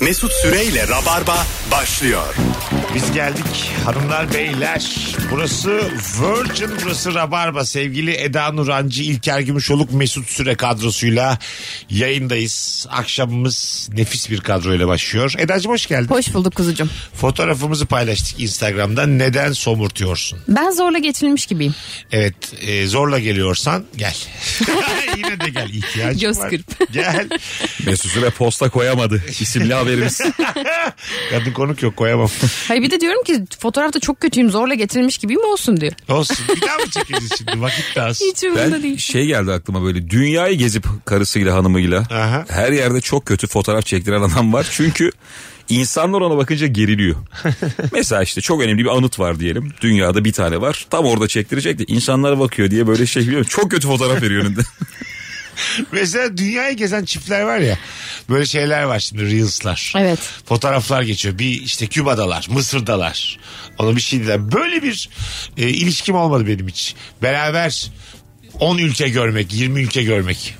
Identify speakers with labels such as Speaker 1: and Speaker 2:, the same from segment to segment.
Speaker 1: Mesut Süreyle Rabarba başlıyor.
Speaker 2: Biz geldik hanımlar beyler. Burası Virgin, burası Rabarba. Sevgili Eda Nurancı, İlker Gümüşoluk, Mesut Süre kadrosuyla yayındayız. Akşamımız nefis bir kadroyla başlıyor. Eda'cığım hoş geldin.
Speaker 3: Hoş bulduk kuzucum.
Speaker 2: Fotoğrafımızı paylaştık Instagram'da. Neden somurtuyorsun?
Speaker 3: Ben zorla geçirilmiş gibiyim.
Speaker 2: Evet e, zorla geliyorsan gel. Yine de gel ihtiyacım
Speaker 3: Göz
Speaker 2: var.
Speaker 3: kırp.
Speaker 2: Gel.
Speaker 4: Mesut Süre posta koyamadı. İsimli haberimiz.
Speaker 2: Kadın konuk yok koyamam.
Speaker 3: Hayır bir de diyorum ki fotoğrafta çok kötüyüm zorla getirilmiş gibiyim olsun diyor.
Speaker 2: Olsun bir daha mı çekeceğiz şimdi vakit de az.
Speaker 3: Hiç umurumda
Speaker 4: ben
Speaker 3: değil.
Speaker 4: şey geldi aklıma böyle dünyayı gezip karısıyla hanımıyla
Speaker 2: Aha.
Speaker 4: her yerde çok kötü fotoğraf çektiren adam var. Çünkü insanlar ona bakınca geriliyor. Mesela işte çok önemli bir anıt var diyelim. Dünyada bir tane var. Tam orada çektirecek de insanlara bakıyor diye böyle şey biliyor musun? Çok kötü fotoğraf veriyor önünde.
Speaker 2: Mesela dünyayı gezen çiftler var ya. Böyle şeyler var şimdi Reels'lar.
Speaker 3: Evet.
Speaker 2: Fotoğraflar geçiyor. Bir işte Küba'dalar, Mısır'dalar. Ona bir şey dediler. Böyle bir e, ilişkim olmadı benim hiç. Beraber 10 ülke görmek, 20 ülke görmek.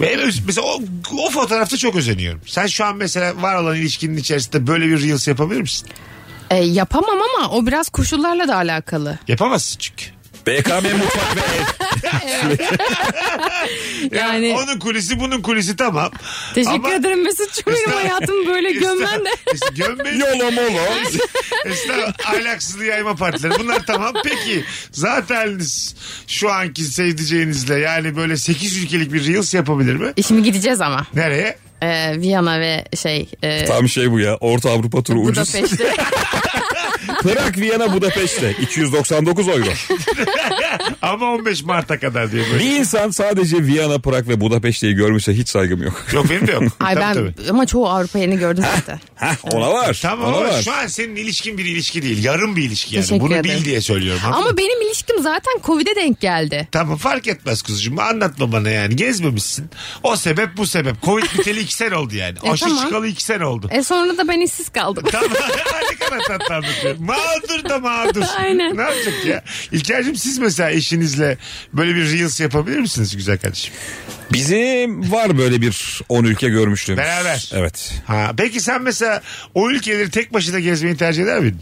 Speaker 2: Ve en öz- mesela o, o fotoğrafta çok özeniyorum. Sen şu an mesela var olan ilişkinin içerisinde böyle bir Reels yapabilir misin?
Speaker 3: E, yapamam ama o biraz koşullarla da alakalı.
Speaker 2: Yapamazsın çünkü.
Speaker 4: BKM mutfak ve ev.
Speaker 3: Yani
Speaker 2: Onun kulisi bunun kulisi tamam.
Speaker 3: teşekkür
Speaker 2: Ama-
Speaker 3: ederim Mesut'cum benim hayatımı böyle gömmen de.
Speaker 2: Estağ- Gömmeyin.
Speaker 4: Yolo molo.
Speaker 2: Esnaf ahlaksızlığı yayma partileri. Bunlar tamam. Peki zaten şu anki sevdiceğinizle yani böyle 8 ülkelik bir reels yapabilir mi?
Speaker 3: E, Şimdi gideceğiz ama.
Speaker 2: Nereye?
Speaker 3: E, Viyana ve şey e,
Speaker 4: Tam şey bu ya. Orta Avrupa turu ucuz.
Speaker 3: Budapeşte.
Speaker 4: Prag, Viyana, Budapeşte. 299 euro.
Speaker 2: Ama 15 Mart'a kadar diye böyle.
Speaker 4: Bir insan sadece Viyana, Prag ve Budapeşte'yi görmüşse hiç saygım yok.
Speaker 2: Yok benim de yok.
Speaker 3: Ay
Speaker 2: Tabii,
Speaker 3: ben
Speaker 2: tabii.
Speaker 3: ama çoğu Avrupa yerini gördüm zaten.
Speaker 4: Ona var.
Speaker 2: Tamam
Speaker 4: ona
Speaker 2: ama
Speaker 4: var.
Speaker 2: şu an senin ilişkin bir ilişki değil. Yarım bir ilişki yani.
Speaker 3: Teşekkür
Speaker 2: Bunu bil
Speaker 3: ederim.
Speaker 2: diye söylüyorum.
Speaker 3: ama benim ilişkim zaten Covid'e denk geldi.
Speaker 2: Tamam fark etmez kuzucuğum. Anlatma bana yani. Gezmemişsin. O sebep bu sebep. Covid biteli 2 sene oldu yani.
Speaker 3: E,
Speaker 2: Aşı
Speaker 3: tamam.
Speaker 2: çıkalı 2 sene oldu.
Speaker 3: E sonra da ben işsiz kaldım.
Speaker 2: Tamam. ne kadar tatlı anlatıyor. Mağdur da mağdur.
Speaker 3: Aynen.
Speaker 2: Ne yapacak ya? İlker'cim siz mesela eşinizle böyle bir reels yapabilir misiniz güzel kardeşim?
Speaker 4: Bizim var böyle bir 10 ülke görmüşlüğümüz.
Speaker 2: Beraber.
Speaker 4: Evet.
Speaker 2: Ha, peki sen mesela o ülkeleri tek başına gezmeyi tercih eder miydin?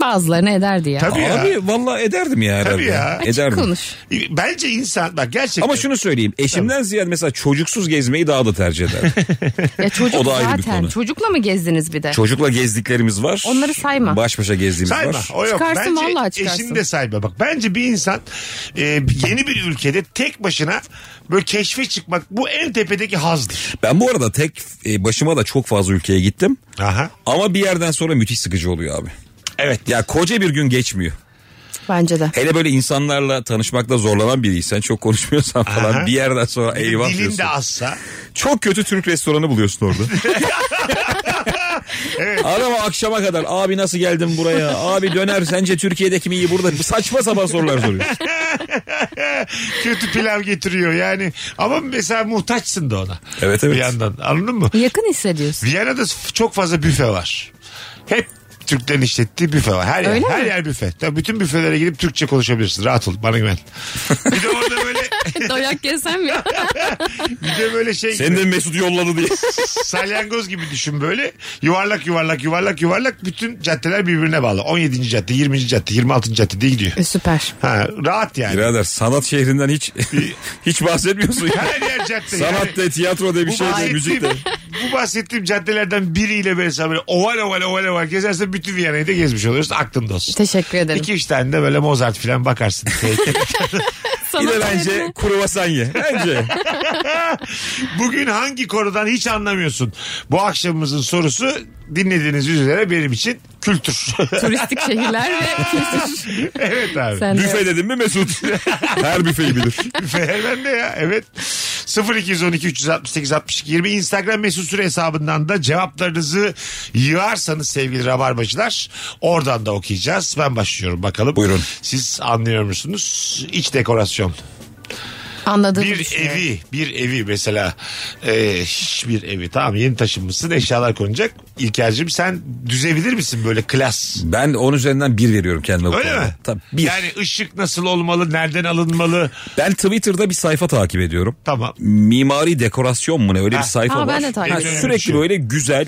Speaker 3: Bazılarını ederdi ya.
Speaker 2: Tabii ya.
Speaker 4: Abi valla ederdim ya herhalde.
Speaker 2: Tabii ya.
Speaker 3: Açık
Speaker 4: Ederdim.
Speaker 3: konuş.
Speaker 2: Bence insan bak gerçekten.
Speaker 4: Ama şunu söyleyeyim. Eşimden ziyade mesela çocuksuz gezmeyi daha da tercih ederim.
Speaker 3: Ya çocuk
Speaker 4: O da ayrı bir
Speaker 3: zaten.
Speaker 4: konu.
Speaker 3: Çocukla mı gezdiniz bir de?
Speaker 4: Çocukla gezdiklerimiz var.
Speaker 3: Onları sayma.
Speaker 4: Baş başa gezdiğimiz
Speaker 2: Sayma.
Speaker 4: var.
Speaker 2: O yok.
Speaker 3: Çıkarsın,
Speaker 2: bence
Speaker 3: vallahi çıkarsın.
Speaker 2: eşini de sayma. Bak bence bir insan e, yeni bir ülkede tek başına böyle keşfe çıkmak bu en tepedeki hazdır.
Speaker 4: Ben bu arada tek e, başıma da çok fazla ülkeye gittim.
Speaker 2: Aha.
Speaker 4: Ama bir yerden sonra müthiş sıkıcı oluyor abi.
Speaker 2: Evet.
Speaker 4: Ya koca bir gün geçmiyor.
Speaker 3: Bence de.
Speaker 4: Hele böyle insanlarla tanışmakta zorlanan biriysen çok konuşmuyorsan falan
Speaker 2: Aha.
Speaker 4: bir yerden sonra eyvah
Speaker 2: Dilin
Speaker 4: diyorsun.
Speaker 2: de azsa.
Speaker 4: Çok kötü Türk restoranı buluyorsun orada. Adam akşama kadar abi nasıl geldin buraya? Abi döner sence Türkiye'deki mi iyi burada? Saçma sapan sorular soruyor.
Speaker 2: kötü pilav getiriyor yani. Ama mesela muhtaçsın da ona.
Speaker 4: Evet,
Speaker 2: Bir
Speaker 4: evet.
Speaker 2: yandan anladın mı?
Speaker 3: Yakın hissediyorsun.
Speaker 2: Viyana'da f- çok fazla büfe var. Hep Türklerin işlettiği büfe var. Her yer,
Speaker 3: Öyle
Speaker 2: her
Speaker 3: mi?
Speaker 2: yer büfe. Tabii bütün büfelere gidip Türkçe konuşabilirsin. Rahat ol. Bana güven. bir de orada böyle
Speaker 3: Dayak yesem ya.
Speaker 2: bir de böyle şey gibi,
Speaker 4: Mesut yolladı diye.
Speaker 2: salyangoz gibi düşün böyle. Yuvarlak yuvarlak yuvarlak yuvarlak bütün caddeler birbirine bağlı. 17. cadde, 20. cadde, 26. cadde diye gidiyor.
Speaker 3: E, Süper.
Speaker 2: Ha, rahat yani.
Speaker 4: Birader sanat şehrinden hiç hiç bahsetmiyorsun ya.
Speaker 2: Her yer cadde. yani.
Speaker 4: Sanat de tiyatro de bir şey de
Speaker 2: bahsettiğim-
Speaker 4: müzik de.
Speaker 2: bu bahsettiğim caddelerden biriyle mesela böyle oval oval oval oval gezersen bütün Viyana'yı da gezmiş oluyorsun. Aklında olsun.
Speaker 3: Teşekkür ederim.
Speaker 2: İki üç tane de böyle Mozart falan bakarsın.
Speaker 4: Bir
Speaker 3: Sana
Speaker 4: de bence kruvasan ye. Bence.
Speaker 2: Bugün hangi konudan hiç anlamıyorsun? Bu akşamımızın sorusu dinlediğiniz üzere benim için kültür.
Speaker 3: turistik şehirler ve kültür.
Speaker 2: evet abi.
Speaker 3: Sen de-
Speaker 4: Büfe dedim mi Mesut? Her büfeyi bilir.
Speaker 2: Hemen de ya evet. 0212 368 62 20 Instagram mesut süre hesabından da cevaplarınızı yığarsanız sevgili rabarbacılar oradan da okuyacağız. Ben başlıyorum bakalım.
Speaker 4: Buyurun.
Speaker 2: Siz anlıyor musunuz? İç dekorasyon.
Speaker 3: Anladığını
Speaker 2: bir
Speaker 3: düşünüyorum.
Speaker 2: evi bir evi mesela e, hiçbir evi tamam yeni taşınmışsın eşyalar konacak İlker'cim sen düzebilir misin böyle klas?
Speaker 4: Ben 10 üzerinden 1 veriyorum kendime bu
Speaker 2: Öyle
Speaker 4: konuda.
Speaker 2: mi?
Speaker 4: Tabii bir.
Speaker 2: Yani ışık nasıl olmalı nereden alınmalı
Speaker 4: Ben Twitter'da bir sayfa takip ediyorum.
Speaker 2: tamam.
Speaker 4: Mimari dekorasyon mu ne öyle
Speaker 2: Ha.
Speaker 4: bir sayfa
Speaker 3: Aa,
Speaker 4: var.
Speaker 3: ben de takip
Speaker 4: Ha,
Speaker 2: ediyorum.
Speaker 4: Sürekli
Speaker 2: Şey.
Speaker 4: böyle güzel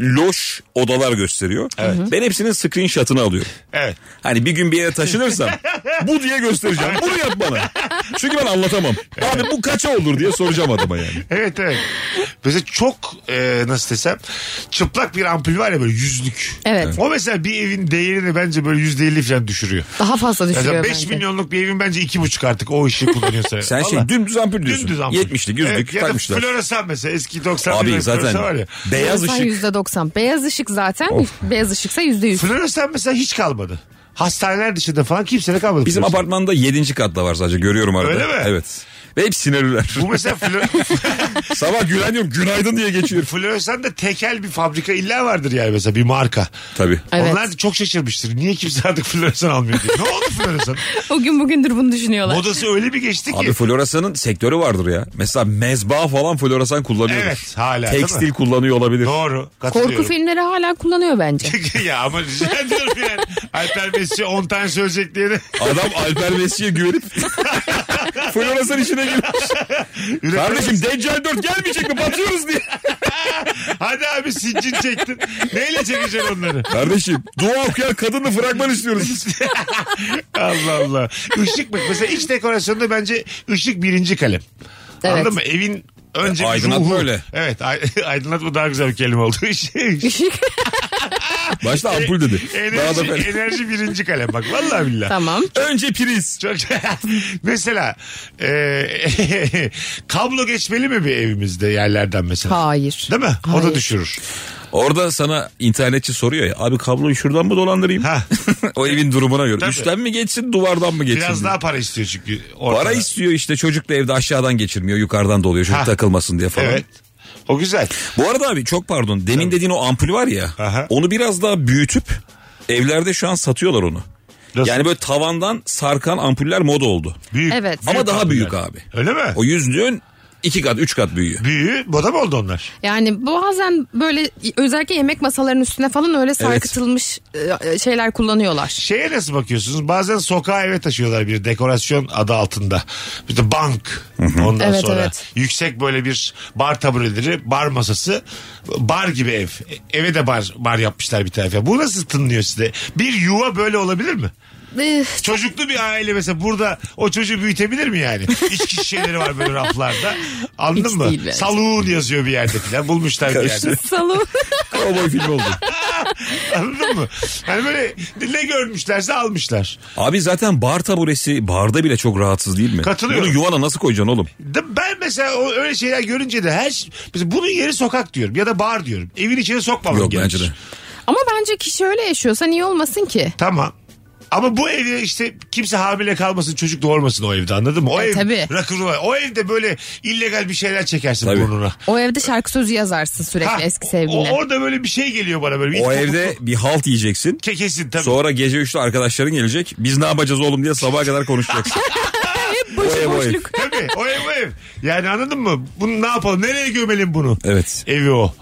Speaker 4: loş odalar gösteriyor. Ben hepsinin screenshot'ını alıyorum.
Speaker 2: Evet.
Speaker 4: Hani bir gün bir yere taşınırsam bu diye göstereceğim. Bunu yap bana. Çünkü ben anlatamam. Abi bu kaça olur diye soracağım adama yani.
Speaker 2: Evet evet. Mesela çok e, nasıl desem çıplak bir ampul var ya böyle yüzlük.
Speaker 3: Evet.
Speaker 2: O mesela bir evin değerini bence böyle yüzde elli falan düşürüyor.
Speaker 3: Daha fazla
Speaker 2: Mesela
Speaker 3: düşürüyor
Speaker 2: 5
Speaker 3: bence.
Speaker 2: milyonluk bir evin bence iki buçuk artık o ışığı kullanıyorsa.
Speaker 4: Sen
Speaker 2: Vallahi.
Speaker 4: şey dümdüz ampul diyorsun.
Speaker 2: Dümdüz ampul.
Speaker 4: 70'lik 100'lük
Speaker 2: Evet, ya da
Speaker 4: takmışlar.
Speaker 2: floresan mesela eski 90'lı
Speaker 4: Abi
Speaker 2: floresan var
Speaker 4: zaten
Speaker 2: ya.
Speaker 4: beyaz
Speaker 3: Floresan
Speaker 4: ışık
Speaker 3: %90. Beyaz ışık zaten.
Speaker 4: Of.
Speaker 3: Beyaz ışıksa %100.
Speaker 2: Floresan mesela hiç kalmadı. Hastaneler dışında falan kimsede kalmadı.
Speaker 4: Bizim
Speaker 2: floresan.
Speaker 4: apartmanda 7. katta var sadece görüyorum arada.
Speaker 2: Öyle mi?
Speaker 4: Evet. Ve hep sinirliler.
Speaker 2: Bu mesela flo-
Speaker 4: Sabah gülen diyorum günaydın diye geçiyor.
Speaker 2: floresan da tekel bir fabrika illa vardır yani mesela bir marka.
Speaker 4: Tabii.
Speaker 3: Evet.
Speaker 2: Onlar da çok şaşırmıştır. Niye kimse artık floresan almıyor diye. Ne oldu floresan?
Speaker 3: O gün bugündür bunu düşünüyorlar.
Speaker 2: Modası öyle bir geçti ki.
Speaker 4: Abi floresanın sektörü vardır ya. Mesela mezba falan floresan kullanıyordur.
Speaker 2: Evet, hala, değil
Speaker 4: Tekstil
Speaker 2: mi?
Speaker 4: kullanıyor olabilir.
Speaker 2: Doğru.
Speaker 3: Korku
Speaker 2: Katılıyorum.
Speaker 3: filmleri hala kullanıyor bence.
Speaker 2: ya ama rica ediyorum yani. Alper Messi 10 tane söyleyecek diye de.
Speaker 4: Adam Alper Messi'ye güvenip floresan işine girmiş. Kardeşim Deccal 4 gelmeyecek mi batıyoruz diye.
Speaker 2: Hadi abi sincin çektin. Neyle çekeceksin onları?
Speaker 4: Kardeşim dua okuyan kadını fragman istiyoruz.
Speaker 2: Allah Allah. Işık mı? Mesela iç dekorasyonda bence ışık birinci kalem.
Speaker 3: Evet.
Speaker 2: Anladın mı? Evin önce
Speaker 4: E,
Speaker 2: bir
Speaker 4: aydınlatma
Speaker 2: ruhu.
Speaker 4: öyle.
Speaker 2: Evet ay- aydınlatma daha güzel bir kelime oldu. Işık.
Speaker 3: Işık.
Speaker 4: Başta ampul dedi. Daha da
Speaker 2: E, enerji,
Speaker 4: fena.
Speaker 2: enerji birinci kalem bak. Vallahi billahi.
Speaker 3: tamam.
Speaker 4: Önce priz.
Speaker 2: Çok mesela e, kablo geçmeli mi bir evimizde yerlerden mesela?
Speaker 3: Hayır.
Speaker 2: Değil mi? O da
Speaker 3: Hayır.
Speaker 2: düşürür.
Speaker 4: Orada sana internetçi soruyor ya abi kabloyu şuradan mı dolandırayım?
Speaker 2: Ha.
Speaker 4: o evin durumuna göre.
Speaker 2: Tabii.
Speaker 4: Üstten mi geçsin duvardan mı geçsin?
Speaker 2: Biraz
Speaker 4: diye.
Speaker 2: daha para istiyor çünkü. ortada.
Speaker 4: Para istiyor işte çocuk da evde aşağıdan geçirmiyor yukarıdan doluyor çocuk
Speaker 2: Ha.
Speaker 4: takılmasın diye falan.
Speaker 2: Evet. O güzel.
Speaker 4: Bu arada abi çok pardon demin dediğin o ampul var ya
Speaker 2: Aha.
Speaker 4: onu biraz daha büyütüp evlerde şu an satıyorlar onu.
Speaker 2: Nasıl?
Speaker 4: Yani böyle tavandan sarkan ampuller moda oldu.
Speaker 2: Büyük.
Speaker 3: Evet.
Speaker 4: Ama daha
Speaker 2: ampuller.
Speaker 4: büyük abi.
Speaker 2: Öyle mi?
Speaker 4: O yüzlüğün iki kat üç kat büyüğü.
Speaker 2: Büyüğü moda mı oldu onlar?
Speaker 3: Yani bazen böyle özellikle yemek masalarının üstüne falan öyle sarkıtılmış e, şeyler kullanıyorlar.
Speaker 2: Şeye nasıl bakıyorsunuz? Bazen sokağa eve taşıyorlar bir dekorasyon adı altında. Bir de bank. Ondan
Speaker 3: Evet,
Speaker 2: sonra
Speaker 3: evet.
Speaker 2: yüksek böyle bir bar tabureleri, bar masası, bar gibi ev. E- Eve de bar bar yapmışlar bir tarafa. Bu nasıl tınlıyor size? Bir yuva böyle olabilir mi?
Speaker 3: Eh,
Speaker 2: Çocuklu bir aile mesela burada o çocuğu büyütebilir mi yani? İçki şişeleri var böyle raflarda. Anladın
Speaker 3: Hiç
Speaker 2: mı?
Speaker 3: değil bence.
Speaker 2: Saluğun yazıyor bir yerde falan. Bulmuşlar bir yerde.
Speaker 3: Salon.
Speaker 4: Cowboy filmi oldu.
Speaker 2: Anladın mı? Hani böyle ne görmüşlerse almışlar.
Speaker 4: Abi zaten bar taburesi barda bile çok rahatsız değil mi?
Speaker 2: Katılıyorum.
Speaker 4: Bunu yuvana nasıl koyacaksın oğlum?
Speaker 2: De- Ben mesela o öyle şeyler görünce de her şey- mesela bunun yeri sokak diyorum ya da bar diyorum. Evin içine sokmamam
Speaker 4: Yok
Speaker 2: gerekir.
Speaker 4: bence de.
Speaker 3: Ama bence kişi öyle yaşıyorsa niye olmasın ki?
Speaker 2: Tamam. Ama bu evde işte kimse hamile kalmasın çocuk doğurmasın o evde anladın mı? O
Speaker 3: E,
Speaker 2: ev
Speaker 3: tabii.
Speaker 2: rock'n'roll. O evde böyle illegal bir şeyler çekersin
Speaker 4: Tabii.
Speaker 2: burnuna.
Speaker 3: O evde şarkı sözü yazarsın sürekli
Speaker 2: Ha,
Speaker 3: eski
Speaker 2: o-
Speaker 3: sevgiline.
Speaker 2: orada böyle bir şey geliyor bana böyle.
Speaker 4: O
Speaker 2: İlk
Speaker 4: evde
Speaker 2: topuklu-
Speaker 4: bir halt yiyeceksin.
Speaker 2: kekesin tabii.
Speaker 4: Sonra gece 3'te arkadaşların gelecek. Biz ne yapacağız oğlum diye sabaha kadar konuşacaksın.
Speaker 3: Boşu
Speaker 4: o ev, o ev.
Speaker 3: boşluk.
Speaker 2: Tabii o ev o ev. Yani anladın mı? Bunu ne yapalım? Nereye gömelim bunu?
Speaker 4: Evet.
Speaker 2: Evi o.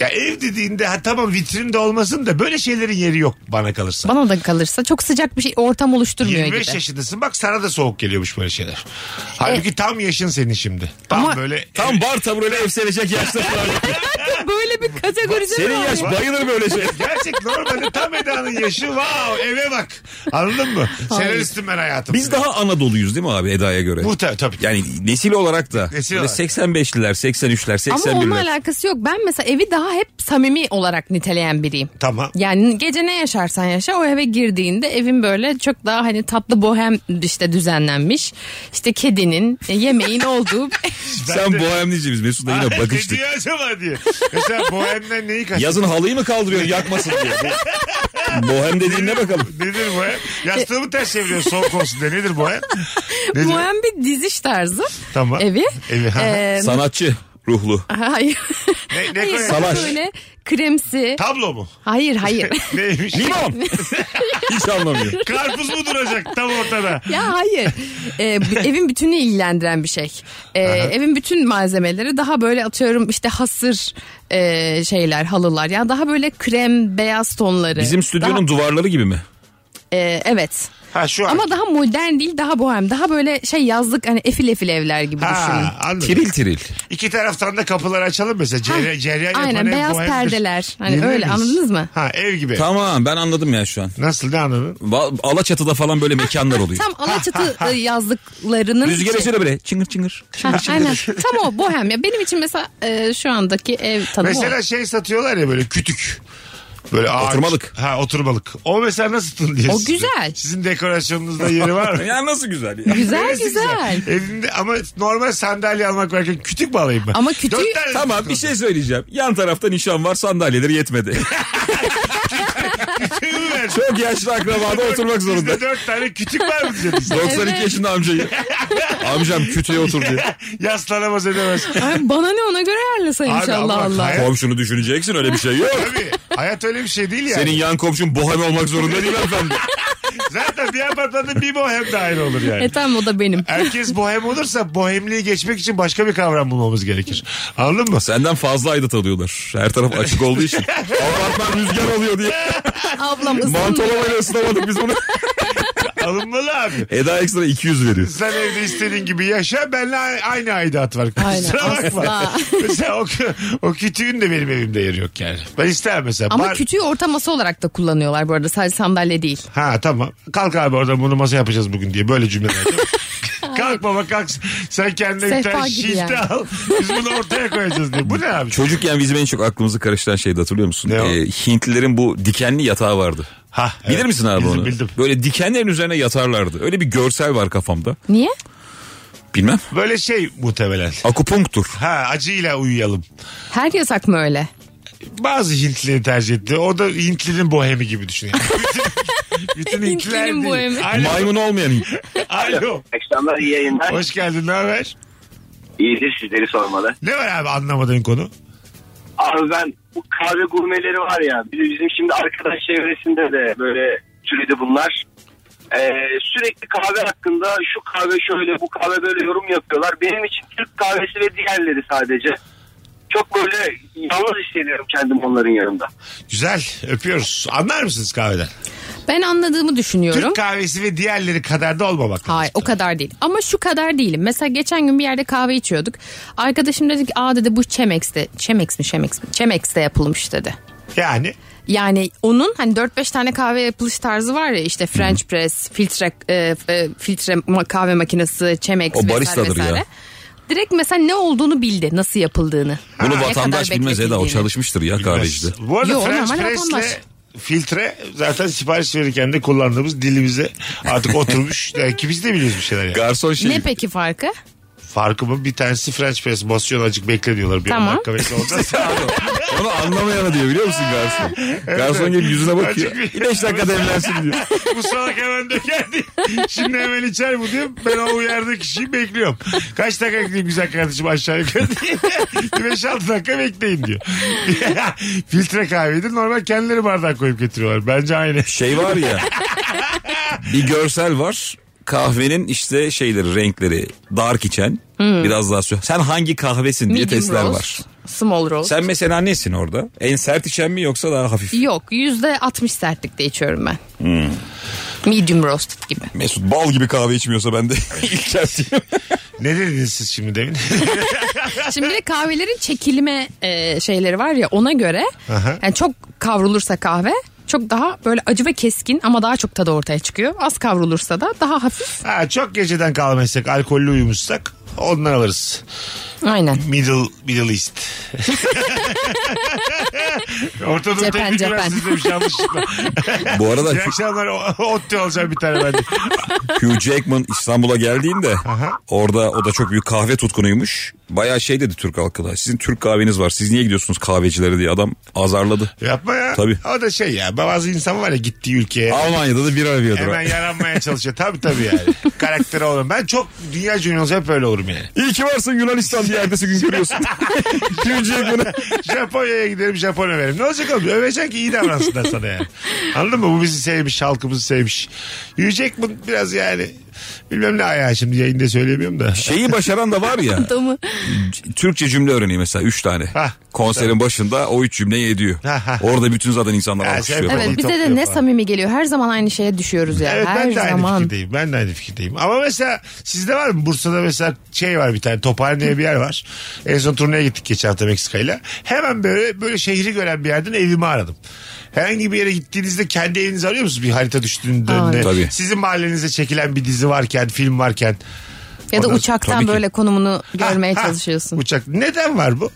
Speaker 2: Ya ev dediğinde ha tamam vitrinde olmasın da böyle şeylerin yeri yok bana kalırsa.
Speaker 3: Bana da kalırsa çok sıcak bir şey ortam oluşturmuyor
Speaker 2: 25
Speaker 3: gibi. Eh.
Speaker 2: yaşındasın bak sana da soğuk geliyormuş böyle şeyler. Halbuki tam yaşın senin şimdi. Tam
Speaker 3: Ama-
Speaker 2: böyle
Speaker 4: Tam bar tabureli ev sevecek yaşta falan.
Speaker 3: Böyle bir kategoride
Speaker 4: Senin yaş bayılır böyle şey.
Speaker 2: gerçek normalde tam Eda'nın yaşı wow eve bak. Anladın mı?
Speaker 3: Hayır.
Speaker 2: Senaristim ben hayatım.
Speaker 4: Biz daha Anadolu'yuz değil mi abi Eda'ya göre?
Speaker 2: Muhtemelen tabii.
Speaker 4: Yani nesil olarak da.
Speaker 2: Nesil
Speaker 4: böyle
Speaker 2: olarak.
Speaker 4: 85'liler, 83'ler,
Speaker 3: Ama onunla
Speaker 4: 81'ler.
Speaker 3: alakası yok. Ben mesela evi daha hep samimi olarak niteleyen biriyim.
Speaker 2: Tamam.
Speaker 3: Yani gece ne yaşarsan yaşa o eve girdiğinde evin böyle çok daha hani tatlı bohem işte düzenlenmiş. İşte kedinin, e, yemeğin olduğu.
Speaker 4: Sen bohemliciyiz Mesut'la yine
Speaker 2: ne
Speaker 4: bakıştık.
Speaker 2: diyor acaba diye. Mesela bohemden neyi kaçırdın?
Speaker 4: Yazın halıyı mı kaldırıyorsun yakmasın diye. Bohem dediğin ne bakalım?
Speaker 2: Nedir bohem? Yastığımı ters çeviriyorsun soğuk olsun diye. Nedir bohem? Nedir?
Speaker 3: bohem bir diziş tarzı
Speaker 2: Tamam.
Speaker 3: evi.
Speaker 2: Evi, ha.
Speaker 3: Ee,
Speaker 4: Sanatçı. Ruhlu.
Speaker 3: Hayır.
Speaker 2: Ne, ne
Speaker 3: Hayır,
Speaker 2: koyar?
Speaker 4: Salaş.
Speaker 3: Böyle kremsi.
Speaker 2: Tablo mu?
Speaker 3: Hayır hayır.
Speaker 2: Neymiş?
Speaker 4: Limon. Hiç anlamıyor.
Speaker 2: Karpuz mu duracak tam ortada?
Speaker 3: ya hayır. Ee, bu- evin bütünü ilgilendiren bir şey. Ee, evin bütün malzemeleri daha böyle atıyorum işte hasır e, şeyler halılar. Ya daha böyle krem beyaz tonları.
Speaker 4: Bizim stüdyonun
Speaker 3: Daha-
Speaker 4: duvarları gibi mi?
Speaker 3: Ee, evet.
Speaker 2: Ha şu an.
Speaker 3: Ama daha modern değil daha bohem. Daha böyle şey yazlık hani efil efil evler gibi düşünün.
Speaker 2: ha, anladım.
Speaker 4: Tiril tiril.
Speaker 2: İki taraftan da kapıları açalım mesela. Cerya, cerya yapan
Speaker 3: Aynen
Speaker 2: ev
Speaker 3: beyaz
Speaker 2: bu evdir.
Speaker 3: perdeler. Hani
Speaker 2: Yemin
Speaker 3: öyle
Speaker 2: ederiz.
Speaker 3: anladınız mı?
Speaker 2: Ha ev gibi.
Speaker 4: Tamam ben anladım ya şu an.
Speaker 2: Nasıl ne anladın?
Speaker 4: Va- Alaçatı'da falan böyle mekanlar oluyor.
Speaker 3: Tam Alaçatı e, yazlıklarının
Speaker 4: Rüzgar
Speaker 3: içi-
Speaker 4: esiyor da böyle çıngır çıngır.
Speaker 3: Ha, aynen. Tam o bohem ya. Benim için mesela e, şu andaki ev tanımı o.
Speaker 2: Mesela şey satıyorlar ya böyle kütük. Böyle ağaç.
Speaker 4: Oturmalık.
Speaker 2: Ha oturmalık. O mesela nasıl tınlıyor
Speaker 3: O
Speaker 2: sizde?
Speaker 3: güzel.
Speaker 2: Sizin dekorasyonunuzda yeri var mı?
Speaker 4: Ya nasıl güzel ya.
Speaker 3: Güzel
Speaker 2: Neresi
Speaker 3: güzel.
Speaker 2: Evinde ama normal sandalye almak varken kütük bağlayayım ben.
Speaker 3: Ama kütüğü-
Speaker 2: Dört tane
Speaker 4: Tamam bir şey söyleyeceğim. Yan tarafta nişan var sandalyeleri yetmedi.
Speaker 2: kütüğü mü ver?
Speaker 4: Çok yaşlı akrabada oturmak zorunda.
Speaker 2: Bizde dört tane kütük var mı bize bizde?
Speaker 4: 92 yaşında amcayı. Amcam kütüğe otur diye.
Speaker 2: Yaslanamaz edemez.
Speaker 3: Ay bana ne ona göre ayarlasa
Speaker 2: Abi
Speaker 3: inşallah
Speaker 2: Allah
Speaker 3: Allah.
Speaker 2: hayır.
Speaker 4: Komşunu düşüneceksin öyle bir şey yok.
Speaker 2: Tabii. Hayat öyle bir şey değil yani.
Speaker 4: Senin yan komşun bohem olmak zorunda değil efendim.
Speaker 2: Zaten bir apartmanda bir bohem dahil olur yani.
Speaker 3: E tamam o da benim.
Speaker 2: Herkes bohem olursa bohemliği geçmek için başka bir kavram bulmamız gerekir. Anladın mı?
Speaker 4: Senden fazla aidat alıyorlar. Her taraf açık olduğu için. Apartman rüzgar alıyor diye.
Speaker 3: Ablam ısındı.
Speaker 4: Mantolamayla ısınamadık biz bunu.
Speaker 2: Alınmalı abi.
Speaker 4: Eda ekstra 200 veriyor.
Speaker 2: Sen evde istediğin gibi yaşa. Benle a- aynı aidat var.
Speaker 3: Aynen,
Speaker 2: Kusura bakma.
Speaker 3: asla.
Speaker 2: mesela o, kü- o kütüğün de benim evimde yeri yok yani. Ben istemem mesela.
Speaker 3: Ama
Speaker 2: Bar-
Speaker 3: kütüğü orta masa olarak da kullanıyorlar bu arada. Sadece sandalye değil.
Speaker 2: Ha tamam. Kalk abi oradan bunu masa yapacağız bugün diye böyle cümleler. kalk baba kalk. Sen kendine bir
Speaker 3: Sehpa
Speaker 2: tane
Speaker 3: gibi
Speaker 2: şişte
Speaker 3: yani.
Speaker 2: al. Biz bunu ortaya koyacağız diye. Bu ne abi?
Speaker 4: Çocukken bizim en çok aklımızı karıştıran şeydi hatırlıyor musun? Ee,
Speaker 2: Ne o?
Speaker 4: Hintlilerin bu dikenli yatağı vardı.
Speaker 2: Ha,
Speaker 4: Bilir
Speaker 2: evet.
Speaker 4: misin abi
Speaker 2: Bildim,
Speaker 4: onu?
Speaker 2: bildim.
Speaker 4: Böyle dikenlerin üzerine yatarlardı. Öyle bir görsel var kafamda.
Speaker 3: Niye?
Speaker 4: Bilmem.
Speaker 2: Böyle şey muhtemelen.
Speaker 4: Akupunktur.
Speaker 2: Ha acıyla uyuyalım.
Speaker 3: Her yasak mı öyle?
Speaker 2: Bazı Hintlileri tercih etti. O da Hintlinin bohemi gibi düşün. Yani. Bütün- Bütün Hintliler
Speaker 3: Hintlinin
Speaker 2: değil.
Speaker 3: bohemi.
Speaker 2: Alo.
Speaker 4: Maymun olmayan Hint.
Speaker 2: Alo.
Speaker 5: Akşamlar iyi yayınlar.
Speaker 2: Hoş geldin ne haber?
Speaker 5: İyidir sizleri sormalı.
Speaker 2: Ne var abi anlamadığın konu?
Speaker 5: Abi ben bu kahve gurmeleri var ya bir de bizim şimdi arkadaş çevresinde de böyle türedi bunlar. Ee, sürekli kahve hakkında şu kahve şöyle bu kahve böyle yorum yapıyorlar. Benim için Türk kahvesi ve diğerleri sadece. Çok böyle yalnız hissediyorum kendim onların yanında.
Speaker 2: Güzel öpüyoruz. Anlar mısınız kahveden?
Speaker 3: Ben anladığımı düşünüyorum.
Speaker 2: Türk kahvesi ve diğerleri kadar da olmamak
Speaker 3: Hayır o kadar değil. Ama şu kadar değilim. Mesela geçen gün bir yerde kahve içiyorduk. Arkadaşım dedi ki aa dedi bu Chemex'te. Chemex mi Chemex mi? Chemex'te yapılmış dedi.
Speaker 2: Yani
Speaker 3: Yani onun hani 4-5 tane kahve yapılış tarzı var ya işte French press, filtre e, e, filtre ma- kahve makinesi, Chemex
Speaker 4: O
Speaker 3: vesaire
Speaker 4: baristadır
Speaker 3: vesaire.
Speaker 4: ya.
Speaker 3: Direkt mesela ne olduğunu bildi, nasıl yapıldığını.
Speaker 4: Bunu
Speaker 3: Ne
Speaker 4: vatandaş
Speaker 3: kadar
Speaker 4: bilmez Eda o
Speaker 3: bekletildiğini.
Speaker 4: çalışmıştır ya kahvecide.
Speaker 2: Bu arada
Speaker 3: Yo,
Speaker 2: French
Speaker 3: normal
Speaker 2: press'le
Speaker 3: vatandaş.
Speaker 2: filtre zaten sipariş verirken de kullandığımız dilimize artık oturmuş. Belki biz de biliyoruz bir şeyler yani.
Speaker 4: Garson şey
Speaker 3: Ne peki farkı?
Speaker 2: Farkı mı? Bir tanesi French press. Basıyor azıcık bekle diyorlar. Bir on
Speaker 3: Tamam.
Speaker 2: dakika bekle. Ondan sonra-
Speaker 4: onu anlamayana diyor biliyor musun garson? Garson gelip yüzüne bakıyor.
Speaker 2: Açık bir-
Speaker 4: 5 dakika demlensin diyor.
Speaker 2: bu salak hemen dökerdi. Şimdi hemen içer bu diyor. Ben o uyardığı kişiyi bekliyorum. Kaç dakika bekleyeyim güzel kardeşim aşağı yukarı diye. 5-6 dakika bekleyin diyor. Filtre kahvedir. Normal kendileri bardak koyup getiriyorlar. Bence aynı.
Speaker 4: Şey var ya. bir görsel var. Kahvenin işte şeyleri renkleri dark içen biraz daha sö- Sen hangi kahvesin diye
Speaker 3: Hmm. Medium
Speaker 4: testler
Speaker 3: roast,
Speaker 4: var.
Speaker 3: Small roast.
Speaker 4: Sen mesela nesin orada? En sert içen mi yoksa daha hafif?
Speaker 3: Yok %60 sertlikte içiyorum ben.
Speaker 4: Hmm.
Speaker 3: Medium roast gibi.
Speaker 4: Mesut bal gibi kahve içmiyorsa ben de ilk sertiyim.
Speaker 2: Ne dediniz siz şimdi demin?
Speaker 3: Şimdi bir de kahvelerin çekilme e, şeyleri var ya ona göre yani çok kavrulursa kahve çok daha böyle acı ve keskin ama daha çok tadı ortaya çıkıyor. Az kavrulursa da daha hafif.
Speaker 2: ha, çok geceden kalmazsak, alkollü uyumuşsak ondan alırız.
Speaker 3: Aynen.
Speaker 2: Middle, Middle East. Orta Doğu
Speaker 3: Cepen,
Speaker 2: Teknik
Speaker 3: cepen.
Speaker 2: Üniversitesi demiş yanlışlıkla.
Speaker 4: Bu arada
Speaker 2: İyi akşamlar. O- Otte alacağım bir tane ben de.
Speaker 4: Hugh Jackman İstanbul'a geldiğinde orada o da çok büyük kahve tutkunuymuş. Bayağı şey dedi Türk halkına. Sizin Türk kahveniz var. Siz niye gidiyorsunuz kahvecilere diye adam azarladı.
Speaker 2: Yapma ya.
Speaker 4: Tabii.
Speaker 2: O da şey ya bazı insan var ya gittiği ülkeye
Speaker 4: Almanya'da da bir arıyordur.
Speaker 2: e, hemen
Speaker 4: ha.
Speaker 2: yaranmaya çalışıyor. Tabii tabii yani. Karakteri olan. Ben çok dünya cümlesi hep öyle olurum yani.
Speaker 4: İyi ki varsın Yunanistan Yemciyi ertesi gün görüyorsun. Yemciye günü.
Speaker 2: Japonya'ya giderim Japon överim. Ne olacak oğlum? Övecek ki iyi davransınlar sana yani. Anladın mı? Bu bizi sevmiş, halkımızı sevmiş. Yiyecek mi biraz yani? Bilmem ne ayağı şimdi yayında söyleyemiyorum da.
Speaker 4: Şeyi başaran da var ya.
Speaker 3: Adamı.
Speaker 4: Türkçe cümle öğreniyor mesela 3 tane.
Speaker 2: Hah.
Speaker 4: Konserin başında o 3 cümleyi ediyor.
Speaker 2: Ha, ha.
Speaker 4: Orada bütün zaten insanlar
Speaker 2: Ha,
Speaker 4: alkışlıyor.
Speaker 2: şey-
Speaker 4: falan.
Speaker 3: Evet
Speaker 2: Babayı
Speaker 3: bize de
Speaker 2: topluyor
Speaker 3: ne
Speaker 2: falan.
Speaker 3: samimi geliyor. Her zaman aynı şeye düşüyoruz ya.
Speaker 2: Evet
Speaker 3: Her
Speaker 2: ben de aynı
Speaker 3: zaman.
Speaker 2: fikirdeyim. Ben de aynı fikirdeyim. Ama mesela sizde var mı? Bursa'da mesela şey var bir tane Tophane diye bir yer var. En son turneye gittik geçen hafta Meksika'yla. Hemen böyle böyle şehri gören bir yerden evimi aradım. Herhangi bir yere gittiğinizde kendi evinizi arıyor musunuz? Bir harita düştüğünde
Speaker 3: Aa,
Speaker 2: önüne.
Speaker 3: evet.
Speaker 4: Tabii.
Speaker 2: Sizin mahallenize çekilen bir dizi varken, film varken.
Speaker 3: Ya da
Speaker 2: Ondan-
Speaker 4: Tabii
Speaker 3: uçaktan
Speaker 4: ki.
Speaker 3: böyle konumunu görmeye
Speaker 2: Ha, ha,
Speaker 3: çalışıyorsun.
Speaker 2: Uçak. Neden var bu?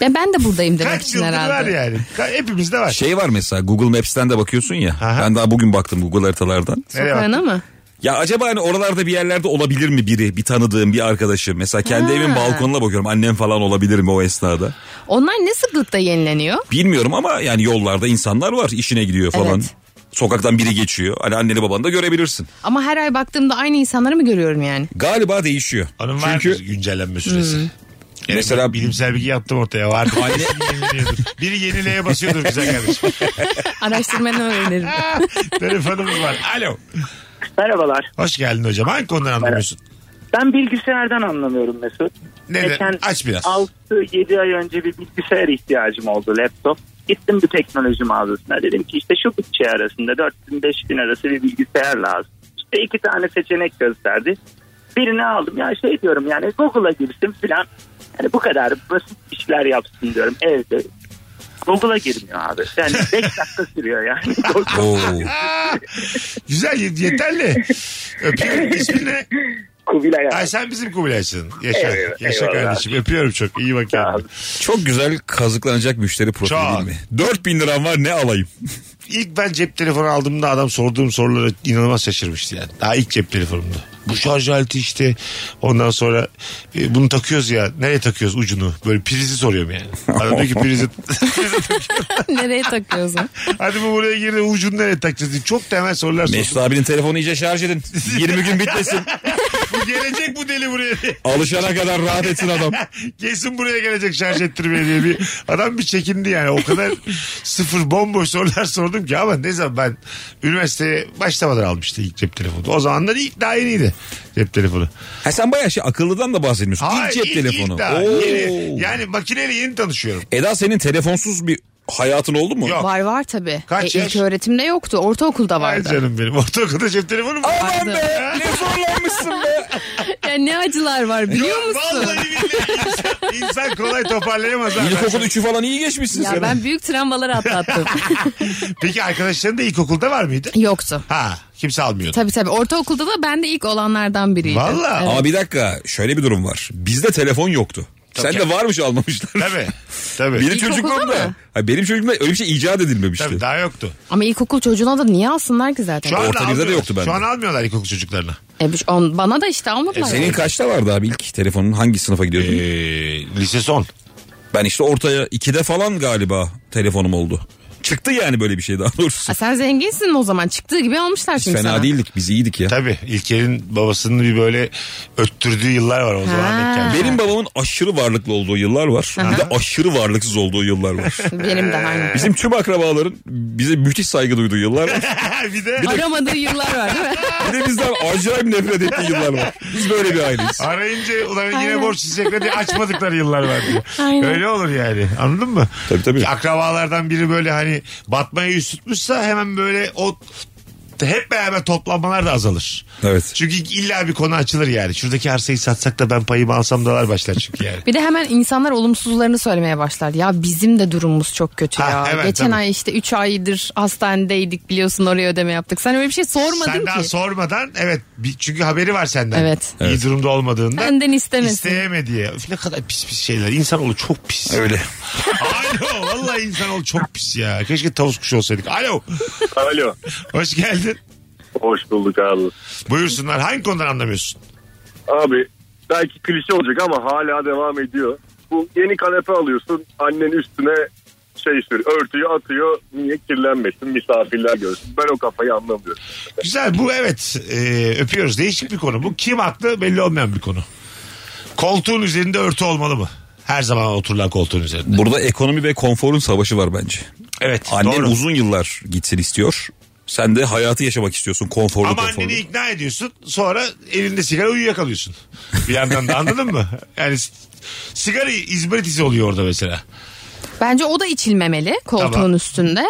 Speaker 3: Ya ben de buradayım demek
Speaker 2: Kaç
Speaker 3: için
Speaker 2: yıldır var
Speaker 3: herhalde.
Speaker 2: yani. Ka- Hepimizde var.
Speaker 4: Şey var mesela Google Maps'ten de bakıyorsun ya.
Speaker 2: Aha.
Speaker 4: Ben daha bugün baktım Google haritalardan.
Speaker 2: Nereye
Speaker 3: Sokağına
Speaker 2: baktın?
Speaker 3: mı?
Speaker 4: Ya acaba hani oralarda bir yerlerde olabilir mi biri? Bir tanıdığım, bir arkadaşım. Mesela kendi
Speaker 3: Ha.
Speaker 4: evimin balkonuna bakıyorum. Annem falan olabilir mi o esnada?
Speaker 3: Onlar ne sıklıkta yenileniyor?
Speaker 4: Bilmiyorum ama yani yollarda insanlar var. işine gidiyor falan.
Speaker 3: Evet.
Speaker 4: Sokaktan biri geçiyor. Hani anneni babanı da görebilirsin.
Speaker 3: Ama her ay baktığımda aynı insanları mı görüyorum yani?
Speaker 4: Galiba değişiyor.
Speaker 2: Onun var
Speaker 4: Çünkü
Speaker 2: mı güncellenme süresi. Yani
Speaker 4: Mesela-
Speaker 2: ben bilimsel bilgi yaptım ortaya. Vardı. Birisi yeniliyordur. Biri yenileye basıyordur güzel kardeşim.
Speaker 3: Araştırmanı öğrenirim.
Speaker 2: Telefonumuz var. Alo.
Speaker 6: Merhabalar.
Speaker 2: Hoş geldin hocam. Hangi konudan anlamıyorsun?
Speaker 6: Ben bilgisayardan anlamıyorum Mesut.
Speaker 2: Neden? Aç biraz.
Speaker 6: 6-7 ay önce bir bilgisayar ihtiyacım oldu laptop. Gittim bir teknoloji mağazasına dedim ki işte şu bütçe arasında 4000-5000 arası bir bilgisayar lazım. İşte iki tane seçenek gösterdi. Birini aldım ya şey diyorum yani Google'a girsin filan. Yani bu kadar basit işler yapsın diyorum evde. Google'a girmiyor abi. Yani 5 dakika sürüyor yani.
Speaker 4: Oo.
Speaker 2: Güzel y- yeterli. Öpüyorum. İsmin ne?
Speaker 6: Kubilay abi.
Speaker 2: Ay sen bizim Kubilay'sın. Yaşa.
Speaker 6: Eyvallah,
Speaker 2: Yaşa
Speaker 6: eyvallah.
Speaker 2: kardeşim. Öpüyorum çok. İyi bak kendine.
Speaker 6: Sağ ol.
Speaker 4: Çok güzel kazıklanacak müşteri profili
Speaker 2: Çok.
Speaker 4: değil mi? 4000 liram var ne alayım?
Speaker 2: İlk ben cep telefonu aldığımda adam sorduğum sorulara inanılmaz şaşırmıştı yani. Daha ilk cep telefonumda. Bu şarj aleti işte. Ondan sonra e, bunu takıyoruz ya. Nereye takıyoruz ucunu? Böyle prizi soruyorum yani. Adam diyor ki prizi
Speaker 3: Nereye takıyorsun?
Speaker 2: Hadi bu buraya girdi ucunu nereye takacağız diye. Çok temel sorular
Speaker 4: Mesut
Speaker 2: sordum.
Speaker 4: abinin telefonu iyice şarj edin. 20 gün bitmesin.
Speaker 2: Bu gelecek bu deli buraya diye.
Speaker 4: Alışana kadar rahat etsin adam.
Speaker 2: Kesin buraya gelecek şarj ettirmeye diye bir adam bir çekindi yani. O kadar sıfır bomboş sorular sordum ki ama ne zaman ben üniversiteye başlamadan almıştı ilk cep telefonu. O zamanlar ilk daha yeniydi cep telefonu.
Speaker 4: Ha sen bayağı şey akıllıdan da bahsetmiyorsun.
Speaker 2: Hayır,
Speaker 4: ilk cep
Speaker 2: ilk-
Speaker 4: telefonu.
Speaker 2: ilk daha
Speaker 4: Oo.
Speaker 2: yeni. yani makineyle yeni tanışıyorum.
Speaker 4: Eda senin telefonsuz bir hayatın oldu mu?
Speaker 2: Yok.
Speaker 3: var var tabii.
Speaker 2: Kaç yaş?
Speaker 3: ilk öğretimde yoktu. Ortaokulda
Speaker 2: Ay
Speaker 3: vardı.
Speaker 2: canım benim. Ortaokulda cep telefonu mu?
Speaker 4: Aman
Speaker 3: Vardı.
Speaker 4: be ne zorlanmışsın be.
Speaker 3: Ya ne acılar var biliyor
Speaker 2: Yok,
Speaker 3: musun?
Speaker 2: Vallahi billahi insan, insan kolay toparlayamaz. ha.
Speaker 4: İlkokul 3'ü falan iyi geçmişsin
Speaker 3: Ya
Speaker 4: sen.
Speaker 3: ben büyük travmalar atlattım.
Speaker 2: Peki arkadaşların da ilkokulda var mıydı?
Speaker 3: Yoktu.
Speaker 2: Ha kimse almıyordu.
Speaker 3: Tabii tabii. Ortaokulda da ben de ilk olanlardan biriydim.
Speaker 2: Vallahi.
Speaker 4: Ama bir dakika şöyle bir durum var. Bizde telefon yoktu. Sen de varmış almamışlar.
Speaker 2: Tabii. Tabii.
Speaker 4: Benim
Speaker 3: İlkokulda
Speaker 4: çocukluğumda.
Speaker 3: mı?
Speaker 4: Hayır, benim çocukluğumda öyle bir şey icat edilmemişti.
Speaker 2: Tabii daha yoktu.
Speaker 3: Ama ilkokul çocuğuna da niye alsınlar ki zaten?
Speaker 2: Şu anda
Speaker 4: Orta birde de
Speaker 2: almıyorlar.
Speaker 4: yoktu bende.
Speaker 2: Şu an almıyorlar ilkokul çocuklarına.
Speaker 3: E, bu- on- bana da işte
Speaker 2: E,
Speaker 3: almadılar.
Speaker 4: Senin kaçta vardı abi ilk telefonun? Hangi sınıfa gidiyordun?
Speaker 2: Ee, lise son.
Speaker 4: Ben işte ortaya 2'de falan galiba telefonum oldu. Çıktı yani böyle bir şey daha doğrusu.
Speaker 3: Ha, sen zenginsin o zaman. Çıktığı gibi almışlar
Speaker 4: Biz
Speaker 3: şimdi
Speaker 4: fena
Speaker 3: sana.
Speaker 4: değildik biz iyiydik ya.
Speaker 2: Tabii İlker'in babasının bir böyle öttürdüğü yıllar var o zaman.
Speaker 3: Ha.
Speaker 4: Benim babamın aşırı varlıklı olduğu yıllar var. Bir de aşırı varlıksız olduğu yıllar var.
Speaker 3: Benim
Speaker 2: Ee,
Speaker 3: de aynı.
Speaker 4: Bizim tüm akrabaların bize müthiş saygı duyduğu yıllar var.
Speaker 2: bir de
Speaker 3: Aramadığı yıllar var değil mi?
Speaker 4: Bir de bizden acayip nefret ettiği yıllar var. Biz böyle bir aileyiz.
Speaker 2: arayınca ulan yine
Speaker 3: Aynen.
Speaker 2: borç isteyecekler diye açmadıkları yıllar var diyor.
Speaker 3: Aynen.
Speaker 2: Öyle olur yani anladın mı?
Speaker 4: Tabii, tabii.
Speaker 2: Akrabalardan biri böyle hani batmaya yüz tutmuşsa hemen böyle o hep beraber toplanmalar da azalır.
Speaker 4: Evet.
Speaker 2: Çünkü illa bir konu açılır yani. Şuradaki arsayı satsak da ben payımı alsam dalar başlar çünkü yani.
Speaker 3: Bir de hemen insanlar olumsuzlarını söylemeye başlar. Ya bizim de durumumuz çok kötü
Speaker 2: Ha,
Speaker 3: ya.
Speaker 2: evet,
Speaker 3: Geçen
Speaker 2: tabii.
Speaker 3: ay işte 3 aydır hastanedeydik biliyorsun oraya ödeme yaptık. Sen öyle bir şey sormadın
Speaker 2: Sen daha
Speaker 3: ki.
Speaker 2: sormadan evet bir- çünkü haberi var senden.
Speaker 3: Evet.
Speaker 2: İyi durumda olmadığında.
Speaker 3: Benden istemesin.
Speaker 2: İsteyeme diye. Öf, ne kadar pis pis şeyler. İnsanoğlu çok pis.
Speaker 4: Öyle.
Speaker 2: Alo vallahi insanoğlu çok pis ya. Keşke tavus kuşu olsaydık. Alo
Speaker 7: Alo.
Speaker 2: hoş geldin.
Speaker 7: Hoş bulduk abi.
Speaker 2: Buyursunlar hangi konudan anlamıyorsun?
Speaker 7: Abi belki klişe olacak ama hala devam ediyor. Bu yeni kanepe alıyorsun. Annen üstüne şey sür, örtüyü atıyor. Niye kirlenmesin misafirler görsün. Ben o kafayı anlamıyorum.
Speaker 2: e, Güzel bu evet Ee, öpüyoruz değişik bir konu. Bu kim haklı belli olmayan bir konu. Koltuğun üzerinde örtü olmalı mı? Her zaman oturulan koltuğun üzerinde.
Speaker 4: Burada ekonomi ve konforun savaşı var bence.
Speaker 2: Evet.
Speaker 4: Annen
Speaker 2: doğru.
Speaker 4: uzun yıllar gitsin istiyor. Sen de hayatı yaşamak istiyorsun konforlu
Speaker 2: Ama
Speaker 4: konforlu.
Speaker 2: anneni ikna ediyorsun. Sonra elinde sigara uyuyakalıyorsun. Bir yandan da anladın mı? Yani s- sigara izmaritisi oluyor orada mesela.
Speaker 3: Bence o da içilmemeli koltuğun
Speaker 2: Tamam.
Speaker 3: üstünde.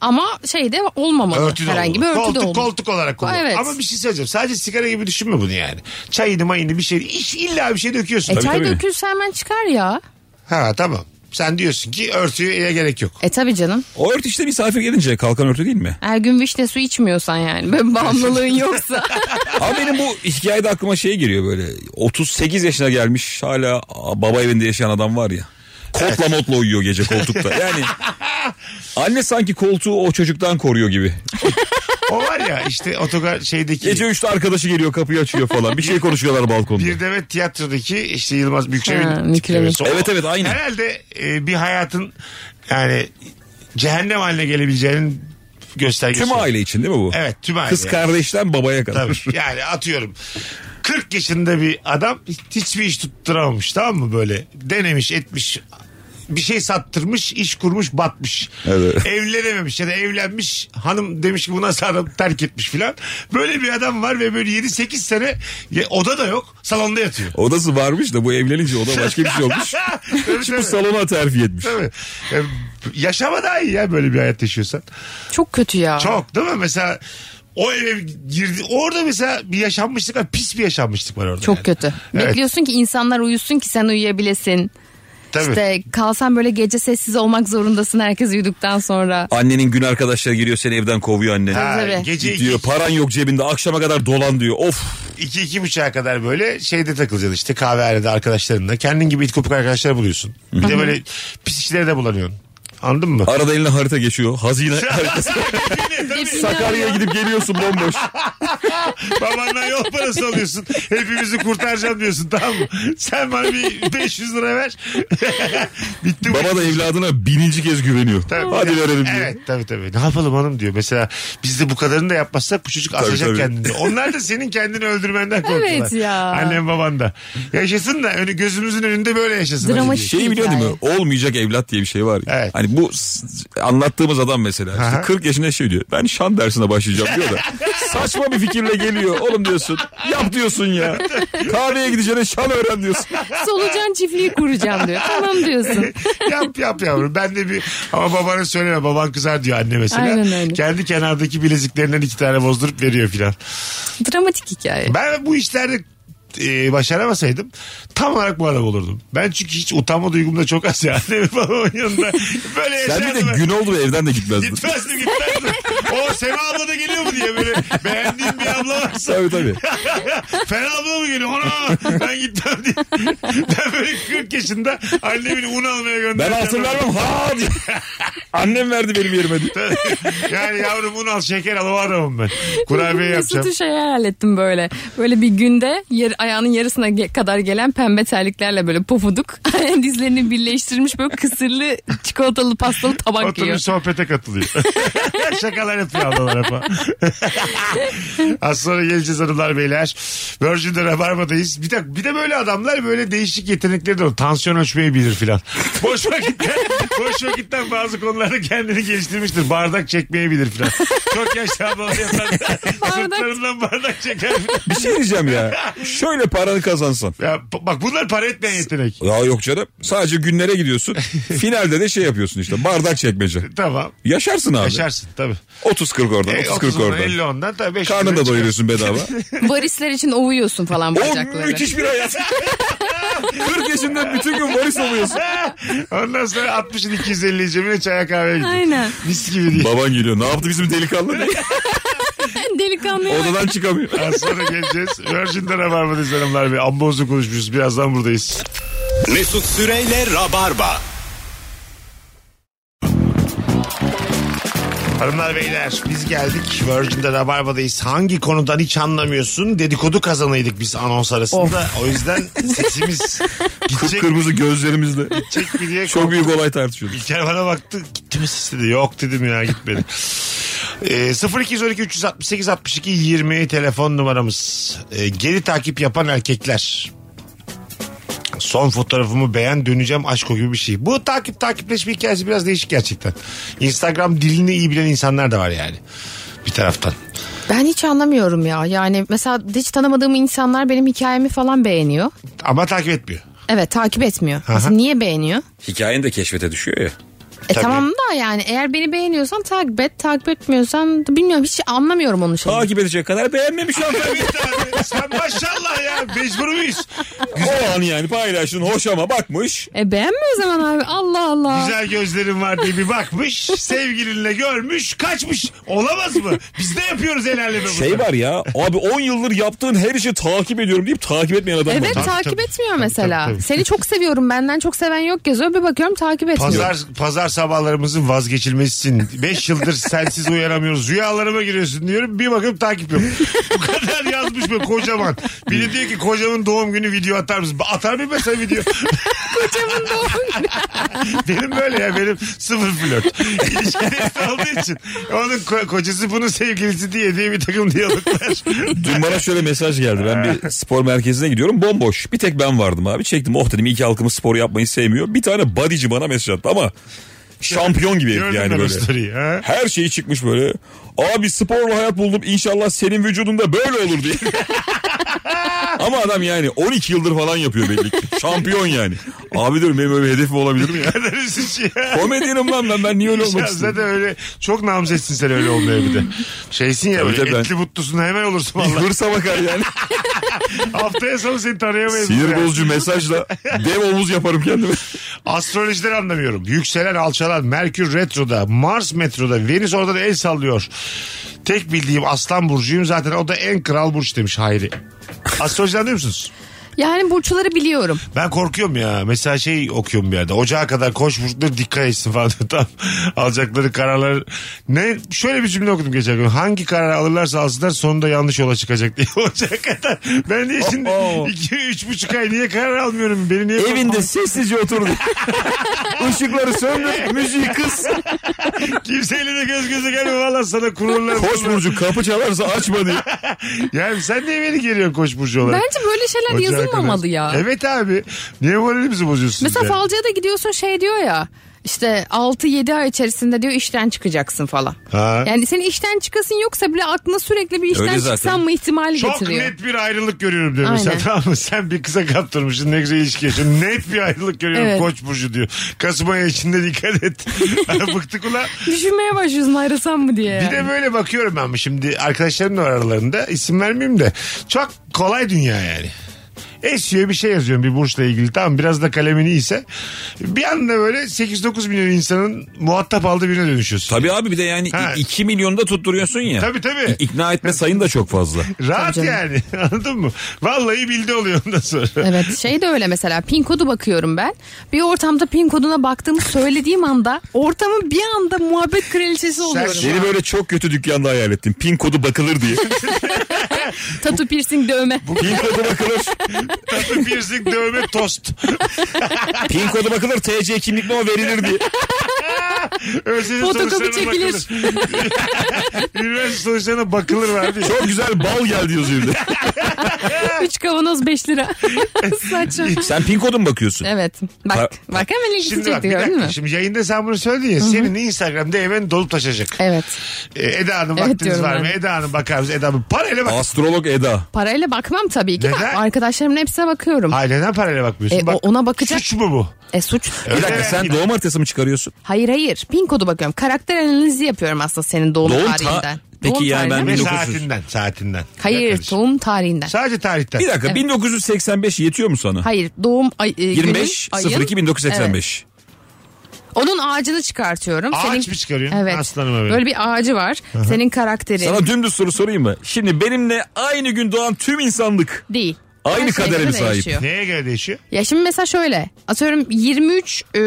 Speaker 3: Ama şey de olmamalı.
Speaker 2: Örtü de
Speaker 3: Herhangi
Speaker 2: olur.
Speaker 3: bir örtü de
Speaker 2: koltuk,
Speaker 3: olmalı.
Speaker 2: koltuk olarak kullan.
Speaker 3: Evet.
Speaker 2: Ama bir şey söyleyeceğim. Sadece sigara gibi düşünme bunu yani. Çayını mayını bir şey. iş- illa bir şey döküyorsun.
Speaker 3: E
Speaker 4: Tabii,
Speaker 3: çay
Speaker 4: tabii.
Speaker 3: dökülse hemen çıkar ya.
Speaker 2: Ha tamam. Sen diyorsun ki örtüye ele gerek yok.
Speaker 3: E tabi canım.
Speaker 4: O örtü işte misafir gelince kalkan örtü değil mi?
Speaker 3: Her gün vişne su içmiyorsan yani. Böyle bağımlılığın yoksa.
Speaker 4: Ama benim bu hikayede aklıma şey geliyor böyle. 38 yaşına gelmiş hala baba evinde yaşayan adam var ya. Kotla motla uyuyor gece koltukta. Yani anne sanki koltuğu o çocuktan koruyor gibi.
Speaker 2: O var ya işte otogar şeydeki...
Speaker 4: Gece 3'te arkadaşı geliyor kapıyı açıyor falan. Bir şey konuşuyorlar balkonda.
Speaker 2: Bir Demet Tiyatro'daki işte Yılmaz
Speaker 3: Ha,
Speaker 2: Büyükçevir'in
Speaker 3: Mükremin.
Speaker 2: tiplemesi. O-
Speaker 4: Evet, evet, aynı.
Speaker 2: Herhalde e, bir hayatın yani cehennem haline gelebileceğinin göstergesi.
Speaker 4: Tüm aile için değil mi bu?
Speaker 2: şey. Evet, tüm aile.
Speaker 4: Kız kardeşten babaya kadar.
Speaker 2: Tabii. Yani atıyorum 40 yaşında bir adam hiç- hiçbir iş tutturamamış tamam mı böyle denemiş etmiş bir şey sattırmış iş kurmuş batmış
Speaker 4: Evet.
Speaker 2: evlenememiş ya da evlenmiş hanım demiş ki bu nasıl adam terk etmiş filan böyle bir adam var ve böyle 7-8 sene ya, oda da yok salonda yatıyor.
Speaker 4: Odası varmış da bu evlenince oda başka bir şey olmuş.
Speaker 2: Tabii,
Speaker 4: Şimdi
Speaker 2: tabii.
Speaker 4: salona terfi etmiş.
Speaker 2: Tabii. E, yaşama daha iyi ya böyle bir hayat yaşıyorsan.
Speaker 3: Çok kötü ya.
Speaker 2: Çok değil mi? Mesela o eve girdi. Orada mesela bir yaşanmışlık var. Pis bir yaşanmışlık var orada.
Speaker 3: Çok
Speaker 2: yani.
Speaker 3: kötü.
Speaker 2: Evet.
Speaker 3: Bekliyorsun ki insanlar uyusun ki sen uyuyabilesin.
Speaker 2: Tabii.
Speaker 3: İşte kalsan böyle gece sessiz olmak zorundasın herkes uyuduktan sonra.
Speaker 4: Annenin gün arkadaşları geliyor seni evden kovuyor anne.
Speaker 2: Ha,
Speaker 3: tabii.
Speaker 2: gece iki,
Speaker 4: Diyor paran yok cebinde akşama kadar dolan diyor. Of
Speaker 2: iki, iki buçuğa kadar böyle şeyde takılacaksın işte kahvehanede arkadaşlarınla. Kendin gibi it kopuk arkadaşlar buluyorsun. Bir de böyle pis işlere de bulanıyorsun. Anladın mı?
Speaker 4: arada eline harita geçiyor. Hazine haritası.
Speaker 3: Hepsini
Speaker 4: Sakarya'ya
Speaker 3: arıyor.
Speaker 4: gidip geliyorsun bomboş.
Speaker 2: Babandan yol parası alıyorsun. Hepimizi kurtaracağım diyorsun tamam mı? Sen bana bir 500 lira ver. Bitti bu
Speaker 4: Baba da evladına bininci kez güveniyor.
Speaker 2: Tabii.
Speaker 4: Hadi verelim diyor.
Speaker 2: Evet tabii tabii. Ne yapalım hanım diyor. Mesela biz de bu kadarını da yapmazsak bu çocuk asacak
Speaker 4: tabii.
Speaker 2: kendini. Onlar da senin kendini öldürmenden korkuyorlar.
Speaker 3: Evet ya.
Speaker 2: Annem baban da. Yaşasın da önü, gözümüzün önünde böyle yaşasın.
Speaker 3: Dramatik.
Speaker 2: Acı
Speaker 4: Şeyi biliyor değil mi? Olmayacak evlat diye bir şey var. ya.
Speaker 2: Evet.
Speaker 4: Hani bu s- anlattığımız adam mesela işte
Speaker 2: Aha.
Speaker 4: 40 yaşında şey diyor. Ben şan dersine başlayacağım diyor da. Saçma bir fikirle geliyor. Oğlum diyorsun. Yap diyorsun ya. Kahveye gideceğine şan öğren diyorsun.
Speaker 3: Solucan çiftliği kuracağım diyor. Tamam diyorsun.
Speaker 2: değil. yap yap yavrum. Ben de bir ama babana söyleme. Baban kızar diyor anne mesela.
Speaker 3: Aynen öyle.
Speaker 2: Kendi kenardaki bileziklerinden iki tane bozdurup veriyor filan.
Speaker 3: Dramatik hikaye.
Speaker 2: Ben bu işlerde e, başaramasaydım tam olarak bu adam olurdum. Ben çünkü hiç utanma duygum da çok az ya. Annemin babamın yanında böyle
Speaker 4: Sen bir
Speaker 2: yaşardım.
Speaker 4: de
Speaker 2: ben.
Speaker 4: gün oldu ve evden de gitmezdin.
Speaker 2: Gitmezdim gitmezdim. o Sema abla da geliyor mu diye böyle beğendiğim bir abla varsa.
Speaker 4: tabii tabii.
Speaker 2: Fena abla mı geliyor? Ona ben gitmem diye. Ben böyle 40 yaşında annemin un almaya
Speaker 4: Ben
Speaker 2: gönderdim.
Speaker 4: altın vermem. Ha diye. Annem verdi benim yerime diye.
Speaker 2: yani yavrum un al şeker al o adamım ben. Kurabiye yapacağım.
Speaker 3: Mesut'u şey hayal ettim böyle. Böyle bir günde yer, ayağının yarısına ge- kadar gelen pembe terliklerle böyle pofuduk. Dizlerini birleştirmiş böyle kısırlı çikolatalı pastalı tabak
Speaker 2: Oturmuş
Speaker 3: yiyor.
Speaker 2: sohbete katılıyor. Şakalar yapıyor ablalar hep. ha. Az sonra geleceğiz hanımlar beyler. Virgin'de Rabarba'dayız. Bir de, bir de böyle adamlar böyle değişik yetenekleri de var. Tansiyon ölçmeyi bilir filan. Boş vakitten, boş vakitten bazı konularda kendini geliştirmiştir. Bardak çekmeyi bilir filan. Çok yaşlı ablalar yapar. Sırtlarından bardak çeker filan.
Speaker 4: Bir şey diyeceğim ya. Şöyle paranı kazansan.
Speaker 2: Ya, p- bak bunlar para etmeyen yetenek.
Speaker 4: Ya yok canım. Sadece günlere gidiyorsun. Finalde de şey yapıyorsun işte. Bardak çekmece.
Speaker 2: Tamam.
Speaker 4: Yaşarsın abi.
Speaker 2: Yaşarsın tabii.
Speaker 4: 30-40 oradan,
Speaker 2: E,
Speaker 4: 30-40
Speaker 2: ondan,
Speaker 4: oradan.
Speaker 2: 50 ondan tabii. beş
Speaker 4: Karnını
Speaker 2: lira
Speaker 4: da
Speaker 2: çıkar.
Speaker 4: doyuruyorsun bedava.
Speaker 3: Varisler için ovuyorsun falan
Speaker 2: Oh,
Speaker 4: o
Speaker 3: bacakları.
Speaker 4: müthiş bir hayat. 40 yaşında bütün gün varis oluyorsun.
Speaker 2: Ondan sonra 60'ın 250 cebine çaya kahveye gidiyor.
Speaker 3: Aynen.
Speaker 2: Mis gibi diye.
Speaker 4: Baban geliyor. Ne yaptı bizim delikanlı diye.
Speaker 3: Delikanlı.
Speaker 4: Odadan çıkamıyor.
Speaker 2: Az sonra geleceğiz. Virgin'de Rabarba'dayız hanımlar. Bir ambozlu konuşmuşuz. Birazdan buradayız.
Speaker 1: Mesut Süreyle Rabarba.
Speaker 2: Hanımlar beyler biz geldik. Virgin'de Rabarba'dayız. Hangi konudan hiç anlamıyorsun? Dedikodu kazanıydık biz anons arasında. O yüzden sesimiz gidecek,
Speaker 4: Kırmızı gözlerimizle.
Speaker 2: gidecek mi diye
Speaker 4: Çok büyük olay tartışıyorduk.
Speaker 2: İlker bana baktı gitti mi ses dedi. Yok dedim ya gitmedi. e, 0212 368 62 Ee, 20 telefon numaramız. E, geri takip yapan erkekler. Son fotoğrafımı beğen döneceğim aşk o gibi bir şey. Bu takip takipleşme hikayesi biraz değişik gerçekten. Instagram dilini iyi bilen insanlar da var yani. Bir taraftan.
Speaker 3: Ben hiç anlamıyorum ya. Yani mesela hiç tanımadığım insanlar benim hikayemi falan beğeniyor.
Speaker 2: Ama takip etmiyor.
Speaker 3: Evet takip etmiyor. Mesela niye beğeniyor?
Speaker 4: Hikayen de keşfete düşüyor ya.
Speaker 3: E
Speaker 2: Tabii.
Speaker 3: tamam da yani eğer beni beğeniyorsan takip et. Takip etmiyorsan da bilmiyorum hiç anlamıyorum onun şeyini.
Speaker 4: Takip edecek kadar beğenmemiş lan.
Speaker 2: Evet abi sen maşallah ya mecbur muyuz?
Speaker 4: o an yani paylaştın hoş ama bakmış.
Speaker 3: E beğenme o zaman abi. Allah Allah.
Speaker 2: Güzel gözlerin var diye bir bakmış. Sevgilinle görmüş kaçmış. Olamaz mı? Biz de yapıyoruz el aleme bunu.
Speaker 4: Şey var ya abi 10 yıldır yaptığın her işi takip ediyorum deyip takip etmeyen adam
Speaker 3: Evet
Speaker 4: var.
Speaker 3: takip
Speaker 2: tabii.
Speaker 3: etmiyor
Speaker 2: Tabii,
Speaker 3: mesela.
Speaker 2: tabii, tabii.
Speaker 3: Seni çok seviyorum benden çok seven yok yazıyor. Bir bakıyorum takip etmiyor.
Speaker 2: Pazar, pazar sabahlarımızın vazgeçilmesisin. 5 yıldır sensiz uyaramıyoruz. Rüyalarıma giriyorsun diyorum. Bir bakıp takip yok. Bu kadar yazmış be kocaman. Biri diyor ki kocamın doğum günü video atar mısın? Atar bir mesela video.
Speaker 3: Kocamın doğum günü.
Speaker 2: benim böyle ya benim sıfır flört. İlişkide olduğu için. Onun ko- kocası bunun sevgilisi diye diye bir takım diyaloglar.
Speaker 4: Dün bana şöyle mesaj geldi. Ben bir spor merkezine gidiyorum. Bomboş. Bir tek ben vardım abi. Çektim. Oh dedim iyi ki halkımız spor yapmayı sevmiyor. Bir tane bodyci bana mesaj attı ama şampiyon gibi herif
Speaker 2: Gördün
Speaker 4: yani
Speaker 2: mü bu
Speaker 4: böyle.
Speaker 2: story'i? Ha?
Speaker 4: Her şeyi çıkmış böyle. Abi sporla hayat buldum. İnşallah senin vücudunda böyle olur diye. Ama adam yani 12 yıldır falan yapıyor belli ki. Şampiyon yani. Abi diyorum benim öyle bir hedefim olabilir mi ya?
Speaker 2: Kadar üzücü şey ya.
Speaker 4: Komedyenim lan ben. Ben niye öyle
Speaker 2: Ya
Speaker 4: olmak
Speaker 2: zaten
Speaker 4: istedim?
Speaker 2: öyle çok namzetsin sen öyle olmaya bir de. Şeysin ya
Speaker 4: Tabii
Speaker 2: böyle
Speaker 4: tabii ben-
Speaker 2: etli mutlusun hemen olursun
Speaker 4: Bir
Speaker 2: valla.
Speaker 4: hırsa bakar yani.
Speaker 2: Haftaya sonu seni tarayamayız.
Speaker 4: Sinir
Speaker 2: Ya.
Speaker 4: bozucu mesajla dev omuz yaparım kendime.
Speaker 2: Astrolojiden anlamıyorum. Yükselen alçalan Merkür retroda, Mars metroda, Venüs oradan el sallıyor. Tek bildiğim Aslan Burcu'yum zaten o da en kral burç demiş Hayri. Astrolojiden anlıyor musunuz?
Speaker 3: Yani burçları biliyorum.
Speaker 2: Ben korkuyorum ya. Mesela şey okuyorum bir yerde. Ocağa kadar koş burçları dikkat etsin falan diyor. Tam alacakları kararlar. Ne? Şöyle bir cümle okudum geçen gün. Hangi karar alırlarsa alsınlar sonunda yanlış yola çıkacak diye. Ocağa kadar. Ben niye şimdi
Speaker 4: Oho.
Speaker 2: iki, üç buçuk ay niye karar almıyorum? Beni niye
Speaker 4: Evinde sessizce oturdu. Işıkları söndür, müziği kıs.
Speaker 2: Kimseyle de göz göze gelme valla sana kururlar.
Speaker 4: Koç burcu kapı çalarsa açma diye.
Speaker 2: Yani sen niye beni geliyorsun koç burcu olarak?
Speaker 3: Bence böyle şeyler
Speaker 2: Ocağa
Speaker 3: yazılmamalı
Speaker 2: kadar.
Speaker 3: ya.
Speaker 2: Evet abi. Niye moralimizi bozuyorsun?
Speaker 3: Mesela
Speaker 2: yani?
Speaker 3: falcıya da gidiyorsun şey diyor ya. İşte 6-7 ay içerisinde diyor işten çıkacaksın falan.
Speaker 2: Ha.
Speaker 3: Yani senin işten çıkasın yoksa bile aklına sürekli bir işten
Speaker 4: Öyle zaten.
Speaker 3: çıksan mı ihtimali
Speaker 2: Çok
Speaker 3: getiriyor.
Speaker 2: net bir ayrılık görüyorum diyor mesela
Speaker 3: Aynen.
Speaker 2: tamam mı? Sen bir kıza kaptırmışsın ne güzel ilişki yaşıyorsun. Net bir ayrılık görüyorum
Speaker 3: Evet.
Speaker 2: koç burcu diyor. Kasım ayı içinde dikkat et. Bıktık ulan.
Speaker 3: Düşünmeye başlıyorsun ayrılsam mı diye.
Speaker 2: Bir de böyle bakıyorum ben şimdi arkadaşlarım da var aralarında isim vermeyeyim de çok kolay dünya yani. Esiyor bir şey yazıyorum bir burçla ilgili tamam biraz da kalemin iyiyse bir anda böyle 8-9 milyon insanın muhatap aldığı birine dönüşüyorsun.
Speaker 4: Tabii abi bir de yani
Speaker 2: Ha.
Speaker 4: 2 milyonda tutturuyorsun ya.
Speaker 2: Tabii, tabii.
Speaker 4: İ- İkna etme sayın da çok fazla.
Speaker 2: Rahat
Speaker 3: Tabii
Speaker 2: yani anladın mı? Vallahi bildi oluyor ondan sonra.
Speaker 3: Evet şey de öyle mesela pin kodu bakıyorum ben. Bir ortamda pin koduna baktığımı söylediğim anda ortamın bir anda muhabbet kraliçesi oluyorum.
Speaker 4: Seni böyle çok kötü dükkanda hayal ettim. Pin kodu bakılır diye.
Speaker 3: Tatu piercing dövme.
Speaker 4: Pin kodu bakılır.
Speaker 2: Tatlı piercing dövme tost.
Speaker 4: Pin kodu bakılır. TC kimlikli o verilir diye.
Speaker 2: Ölçenin
Speaker 3: Fotokopi
Speaker 2: sonuçlarına
Speaker 3: çekilir.
Speaker 2: bakılır. Üniversite sonuçlarına bakılır verdi.
Speaker 4: Çok güzel bal geldi yazıyor bir de.
Speaker 3: 3 kavanoz 5 lira. Saçma.
Speaker 4: Sen pin kodu mu bakıyorsun?
Speaker 3: Evet. Bak,
Speaker 4: Ka-
Speaker 3: bak hemen ilgisi
Speaker 2: Şimdi bak bir
Speaker 3: çekiyor değil
Speaker 2: dakika.
Speaker 3: mi?
Speaker 2: Şimdi yayında sen bunu söyledin ya. Senin Instagram'da hemen dolup taşacak.
Speaker 3: Evet.
Speaker 2: Ee, Eda Hanım
Speaker 3: Evet
Speaker 2: vaktiniz
Speaker 3: diyorum
Speaker 2: var
Speaker 3: ben.
Speaker 2: mı? Eda Hanım bakar mısınız? Eda Hanım parayla bak.
Speaker 4: Astrolog Eda.
Speaker 3: Parayla bakmam tabii ki.
Speaker 2: Neden?
Speaker 3: Ben arkadaşlarımın hepsine bakıyorum.
Speaker 2: Hayır neden parayla bakmıyorsun?
Speaker 3: E, o- ona bakacak-
Speaker 2: Suç mu bu?
Speaker 3: E suç.
Speaker 4: Bir dakika sen doğum haritası mı çıkarıyorsun?
Speaker 3: Hayır hayır. Pin kodu bakıyorum. Karakter analizi yapıyorum aslında senin doğum,
Speaker 4: Doğum ta-
Speaker 3: tarihinden.
Speaker 4: Peki
Speaker 3: doğum
Speaker 4: yani ben
Speaker 3: tarihinden.
Speaker 2: Ve
Speaker 4: 1900.
Speaker 2: saatinden. Saatinden.
Speaker 3: Hayır
Speaker 2: Arkadaş.
Speaker 3: doğum tarihinden.
Speaker 2: Sadece tarihten.
Speaker 4: Bir dakika 1985 yetiyor mu sana?
Speaker 3: Hayır doğum ay, e,
Speaker 4: 25
Speaker 3: günün, ayın-
Speaker 4: 02 1985.
Speaker 3: Onun ağacını çıkartıyorum.
Speaker 2: Ağaç mı çıkarıyorsun?
Speaker 3: Evet.
Speaker 2: Aslanım benim.
Speaker 3: Böyle bir ağacı var. Senin karakterin
Speaker 4: Sana dümdüz soru sorayım mı? Şimdi benimle aynı gün doğan tüm insanlık
Speaker 3: değil.
Speaker 4: Aynı
Speaker 3: Her şey
Speaker 4: kadere
Speaker 3: göre
Speaker 4: mi sahip?
Speaker 3: değişiyor.
Speaker 2: Neye göre değişiyor?
Speaker 3: Ya şimdi mesela şöyle. Atıyorum 23 e,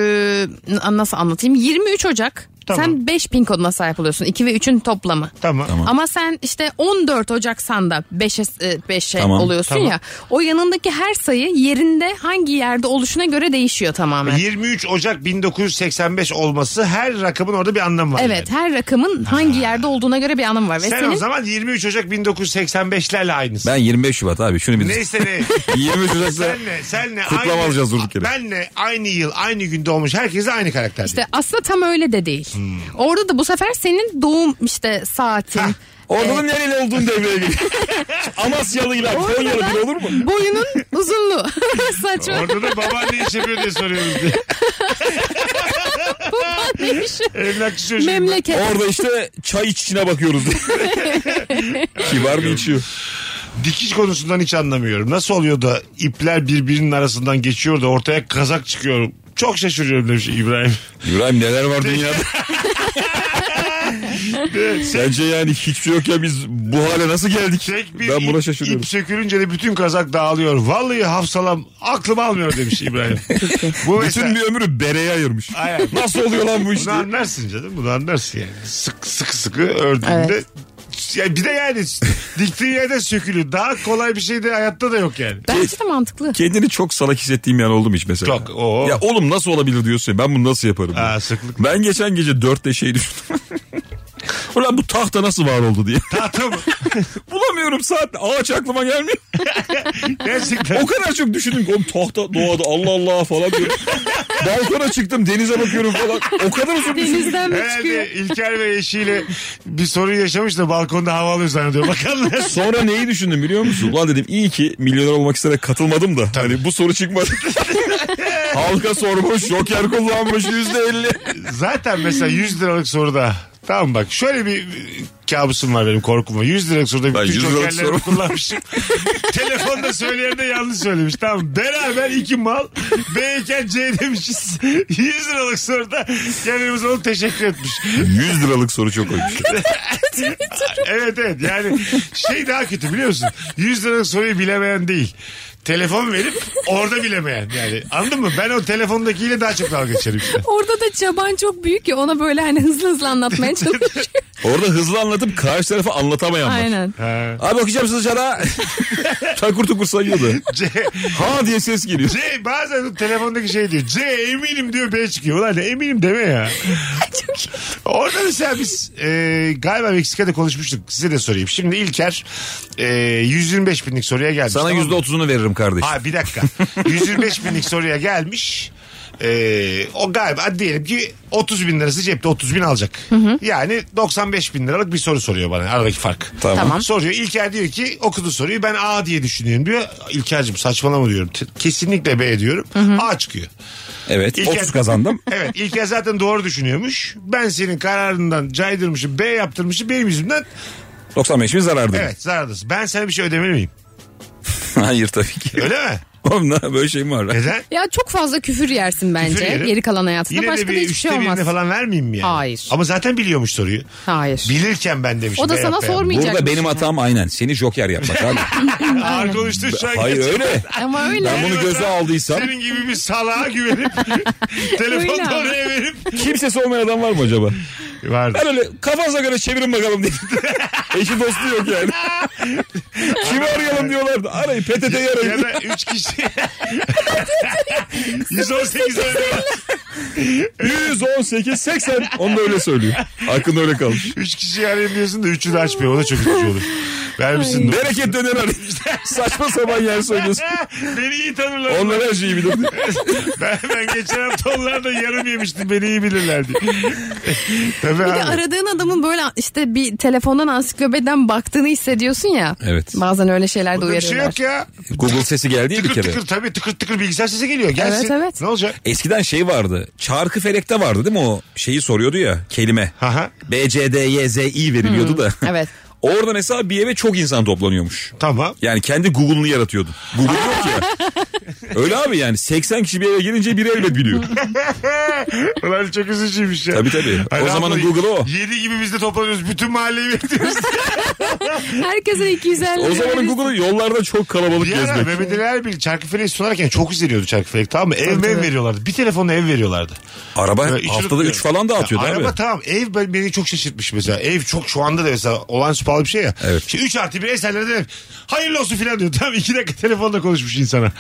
Speaker 3: n- nasıl anlatayım? 23 Ocak
Speaker 2: Tamam.
Speaker 3: Sen 5 pin koduna sahip oluyorsun. 2 ve 3'ün toplamı.
Speaker 2: Tamam.
Speaker 3: Ama sen işte 14 Ocak'san da 5'e 5'e
Speaker 4: Tamam,
Speaker 3: oluyorsun
Speaker 2: tamam.
Speaker 3: ya. O yanındaki her sayı yerinde hangi yerde oluşuna göre değişiyor tamamen.
Speaker 2: 23 Ocak 1985 olması her rakamın orada bir anlamı var.
Speaker 3: Evet her rakamın hangi yerde olduğuna göre bir anlamı var. Ve
Speaker 2: Yani. Sen
Speaker 3: senin
Speaker 2: o zaman 23 Ocak 1985'lerle aynısın.
Speaker 4: Ben 25 Şubat abi şunu bir...
Speaker 2: Neyse ne.
Speaker 4: 23 Ocak'ta
Speaker 2: senle, senle
Speaker 4: kutlama
Speaker 2: aynı,
Speaker 4: alacağız durduk yere.
Speaker 2: Benle aynı yıl, aynı günde olmuş herkese aynı karakter.
Speaker 3: İşte aslında tam öyle de değil.
Speaker 2: Hmm.
Speaker 3: Orada da bu sefer senin doğum işte saatin.
Speaker 4: Orada da nereli olduğun devreye giriyor. Amasyalı ile
Speaker 3: Orada
Speaker 4: Konyalı
Speaker 3: da
Speaker 4: bir olur mu?
Speaker 3: Boyunun uzunluğu. Saçma.
Speaker 2: Orada da baban ne iş yapıyor diye soruyoruz diye.
Speaker 3: Neymiş?
Speaker 2: Emlakçı çocuğum. ben.
Speaker 3: şey Memleket.
Speaker 4: Orada işte çay içişine bakıyoruz. Kibar mı içiyor?
Speaker 2: Dikiş konusundan hiç anlamıyorum. Nasıl oluyor da ipler birbirinin arasından geçiyor da ortaya kazak çıkıyor. Çok şaşırıyorum demiş İbrahim.
Speaker 4: İbrahim neler var dünyada? Bence yani hiçbir şey yok ya biz bu hale nasıl geldik?
Speaker 2: Tek bir
Speaker 4: Ben buna
Speaker 2: ip,
Speaker 4: şaşırıyorum.
Speaker 2: ip sökülünce de bütün kazak dağılıyor. Vallahi hafsalam aklım almıyor demiş İbrahim. Bu
Speaker 4: Bütün bir ömrü bereye ayırmış.
Speaker 2: Aynen.
Speaker 4: Nasıl oluyor lan bu işte?
Speaker 2: Bunu anlarsın canım bunu anlarsın yani. Sık sıkı sıkı ördüğünde.
Speaker 3: Evet.
Speaker 2: Ya bir de yani diktiğin yerde sökülür. Daha kolay bir şey de hayatta da yok yani.
Speaker 3: Bence de mantıklı.
Speaker 4: Kendini çok salak hissettiğim yer oldu mu hiç mesela?
Speaker 2: Çok, oo.
Speaker 4: Ya oğlum nasıl olabilir diyorsun ya, ben bunu nasıl yaparım?
Speaker 2: Ha,
Speaker 4: diye.
Speaker 2: sıklık.
Speaker 4: Ben geçen gece dörtte şey düşündüm. Ulan bu tahta nasıl var oldu diye.
Speaker 2: Tahtım.
Speaker 4: Bulamıyorum saat. Ağaç aklıma gelmiyor.
Speaker 2: Gerçekten.
Speaker 4: O kadar çok düşündüm ki oğlum tahta doğada Allah Allah falan diyorum. Balkona çıktım denize bakıyorum falan. O kadar uzun düşündüm.
Speaker 3: Denizden mi çıkıyor?
Speaker 2: Herhalde İlker ve eşiyle bir sorun yaşamış da balkonda hava alıyor zannediyor. Bakalım nasıl.
Speaker 4: Sonra neyi düşündüm biliyor musun? Ulan dedim iyi ki milyoner olmak isteyerek katılmadım da. Hani bu soru çıkmadı. Halka sormuş, joker kullanmış yüzde elli.
Speaker 2: Zaten mesela 100 liralık soruda Tamam bak şöyle bir kabusum var benim korkum var. 100 liralık soruda
Speaker 4: Ben
Speaker 2: bütün
Speaker 4: 100 liralık
Speaker 2: jokerlerimi
Speaker 4: soru-
Speaker 2: kullanmışım. Telefonda söyleyen de yanlış söylemiş. Tamam beraber iki mal B'yken C demişiz. 100 liralık soruda kendimiz onu teşekkür etmiş.
Speaker 4: 100 liralık soru çok koymuş.
Speaker 2: Evet evet yani şey daha kötü biliyor musun? 100 liralık soruyu bilemeyen değil. Telefon verip orada bilemeyen yani anladın mı? Ben o telefondakiyle daha çok dalga geçerim işte.
Speaker 3: Orada da çaban çok büyük ya ona böyle hani hızlı hızlı anlatmaya çalışıyor.
Speaker 4: Orada hızlı anlatıp karşı tarafa anlatamayan var.
Speaker 3: Aynen.
Speaker 2: Ha.
Speaker 4: Abi bakacağım size dışarı. Takur tukur sayıyordu.
Speaker 2: C,
Speaker 4: Ha diye ses geliyor.
Speaker 2: C Şey, bazen o telefondaki şey diyor. C eminim diyor B çıkıyor. Ulan ne eminim deme ya. Orada mesela biz e, galiba Meksika'da konuşmuştuk. Size de sorayım. Şimdi İlker e, 125 binlik soruya gelmiş.
Speaker 4: Sana
Speaker 2: tamam mı?
Speaker 4: yüzde otuzunu veririm kardeş.
Speaker 2: Ha bir dakika. 125 binlik soruya gelmiş. Ee, o galiba hadi diyelim ki 30 bin lirası cepte 30 bin alacak. Yani 95 bin liralık bir soru soruyor bana aradaki fark.
Speaker 4: Tamam.
Speaker 3: Tamam.
Speaker 2: Soruyor İlker diyor ki okudu soruyu ben A diye düşünüyorum diyor. İlker'cim saçmalama diyorum. Te- Kesinlikle B diyorum. A çıkıyor.
Speaker 4: Evet.
Speaker 2: İlker-
Speaker 4: 30 kazandım.
Speaker 2: Evet İlker zaten doğru düşünüyormuş. Ben senin kararından caydırmışım B yaptırmışım benim yüzümden.
Speaker 4: 95'imi zarardım.
Speaker 2: Evet zarardasın. Ben sana bir şey ödemeli miyim?
Speaker 4: Hayır tabii ki.
Speaker 2: Öyle mi?
Speaker 4: Oğlum ne böyle şey mi var? lan?
Speaker 2: Neden?
Speaker 3: Ya çok fazla küfür yersin bence
Speaker 2: Küfür yerim.
Speaker 3: geri kalan hayatında.
Speaker 2: Yine de
Speaker 3: Başka da
Speaker 2: bir
Speaker 3: hiçbir
Speaker 2: üçte
Speaker 3: şey olmaz.
Speaker 2: birine falan vermeyeyim mi yani?
Speaker 3: Hayır.
Speaker 2: Ama zaten biliyormuş soruyu.
Speaker 3: Hayır.
Speaker 2: Bilirken ben demişim.
Speaker 3: O da
Speaker 2: be
Speaker 3: sana
Speaker 2: yap be yap.
Speaker 3: sormayacak.
Speaker 4: Burada benim hatam aynen. Seni joker yapmak abi.
Speaker 2: Ağır konuştun şu an.
Speaker 4: Hayır öyle.
Speaker 3: Ama öyle.
Speaker 4: Ben bunu göze aldıysam
Speaker 2: Senin gibi bir salağa güvenip telefon
Speaker 3: Öyle.
Speaker 2: oraya verip.
Speaker 4: kimsesi olmayan adam var mı acaba?
Speaker 2: Vardı.
Speaker 4: Ben öyle kafanıza göre çevirin bakalım diye. Eşi dostu yok yani. Kimi arayalım diyorlardı. Arayın PTT'yi
Speaker 2: Ya
Speaker 4: arayın.
Speaker 2: da 3 kişi. 118 öyle.
Speaker 4: 118 80. Onu da öyle söylüyor. Aklında öyle kalmış.
Speaker 2: 3 kişi arayayım diyorsun da 3'ü de açmıyor. O da çok üzücü olur. Vermişsin.
Speaker 4: Bereket döner arayın. Saçma sapan yer söylüyorsun.
Speaker 2: Beni iyi tanırlar.
Speaker 4: Onlar her şeyi bilir.
Speaker 2: Ben, ben geçen hafta onlardan yarım yemiştim. Beni iyi bilirlerdi. Tabii
Speaker 3: Bir de aradığın adamın böyle işte bir telefondan ansiklopediden baktığını hissediyorsun ya.
Speaker 4: Evet.
Speaker 3: Bazen öyle şeyler de
Speaker 2: Bunda bir şey
Speaker 3: uyarıyorlar.
Speaker 2: yok ya.
Speaker 4: Google sesi geldi ya bir
Speaker 2: Tıkır
Speaker 4: kere.
Speaker 2: tıkır tabii tıkır tıkır bilgisayar sesi geliyor. Gelsin.
Speaker 3: Evet, evet.
Speaker 2: Ne olacak?
Speaker 4: Eskiden şey vardı. Çarkı felekte vardı değil mi o? Şeyi soruyordu ya kelime.
Speaker 2: Aha.
Speaker 4: B, C, D, Y, Z, I veriliyordu da.
Speaker 3: evet.
Speaker 4: Orada mesela bir eve çok insan toplanıyormuş.
Speaker 2: Tamam.
Speaker 4: Yani kendi Google'ını yaratıyordun. Google yok ya. Öyle abi yani 80 kişi bir eve girince biri elbet biliyor.
Speaker 2: Ulan çok üzücüymüş ya.
Speaker 4: Tabii tabii.
Speaker 2: Hani
Speaker 4: O zamanın
Speaker 2: abla,
Speaker 4: Google'ı o.
Speaker 2: 7 gibi biz de toplanıyoruz. Bütün mahalleyi bekliyoruz.
Speaker 3: Herkese 250
Speaker 4: O zamanın
Speaker 3: lira.
Speaker 4: Google'ı yollarda çok kalabalık
Speaker 2: Bir ara
Speaker 4: gezmek.
Speaker 2: Mehmet Ali Erbil çarkıfelek sunarken çok üzülüyordu çarkıfelek tamam mı? Ev mev veriyorlardı. Bir telefonla ev veriyorlardı.
Speaker 4: Araba
Speaker 2: Böyle içi
Speaker 4: haftada
Speaker 2: tutuyor.
Speaker 4: 3 falan dağıtıyordu
Speaker 2: Ya
Speaker 4: abi.
Speaker 2: Araba tamam ev ben- beni çok şaşırtmış mesela. Ev çok şu anda da mesela olağanüstü pahalı bir şey ya.
Speaker 4: Evet.
Speaker 2: İşte 3 artı bir eserlere de hayırlı olsun filan diyor. Tamam 2 dakika telefonla konuşmuş insana.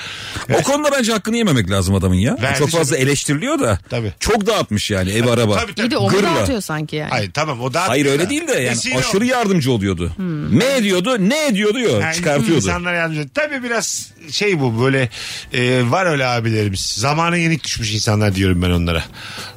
Speaker 4: O konuda bence hakkını yememek lazım adamın ya.
Speaker 2: Verdi
Speaker 4: çok fazla eleştiriliyor da.
Speaker 2: şey- Tabii.
Speaker 4: Çok dağıtmış yani ev araba.
Speaker 2: Tabii tabii.
Speaker 3: Bir de onu
Speaker 4: Gırla.
Speaker 3: dağıtıyor sanki yani.
Speaker 2: Hayır tamam o daha...
Speaker 4: Hayır öyle değil de yani
Speaker 2: Vesile
Speaker 4: aşırı yardımcı oluyordu.
Speaker 3: Hmm.
Speaker 4: Ne ediyordu? Ne ediyor diyor.
Speaker 2: Yani
Speaker 4: Çıkartıyordu.
Speaker 2: İnsanlar yardımcı. Tabii biraz şey bu böyle e, var öyle abilerimiz. Zamana yenik düşmüş insanlar diyorum ben onlara.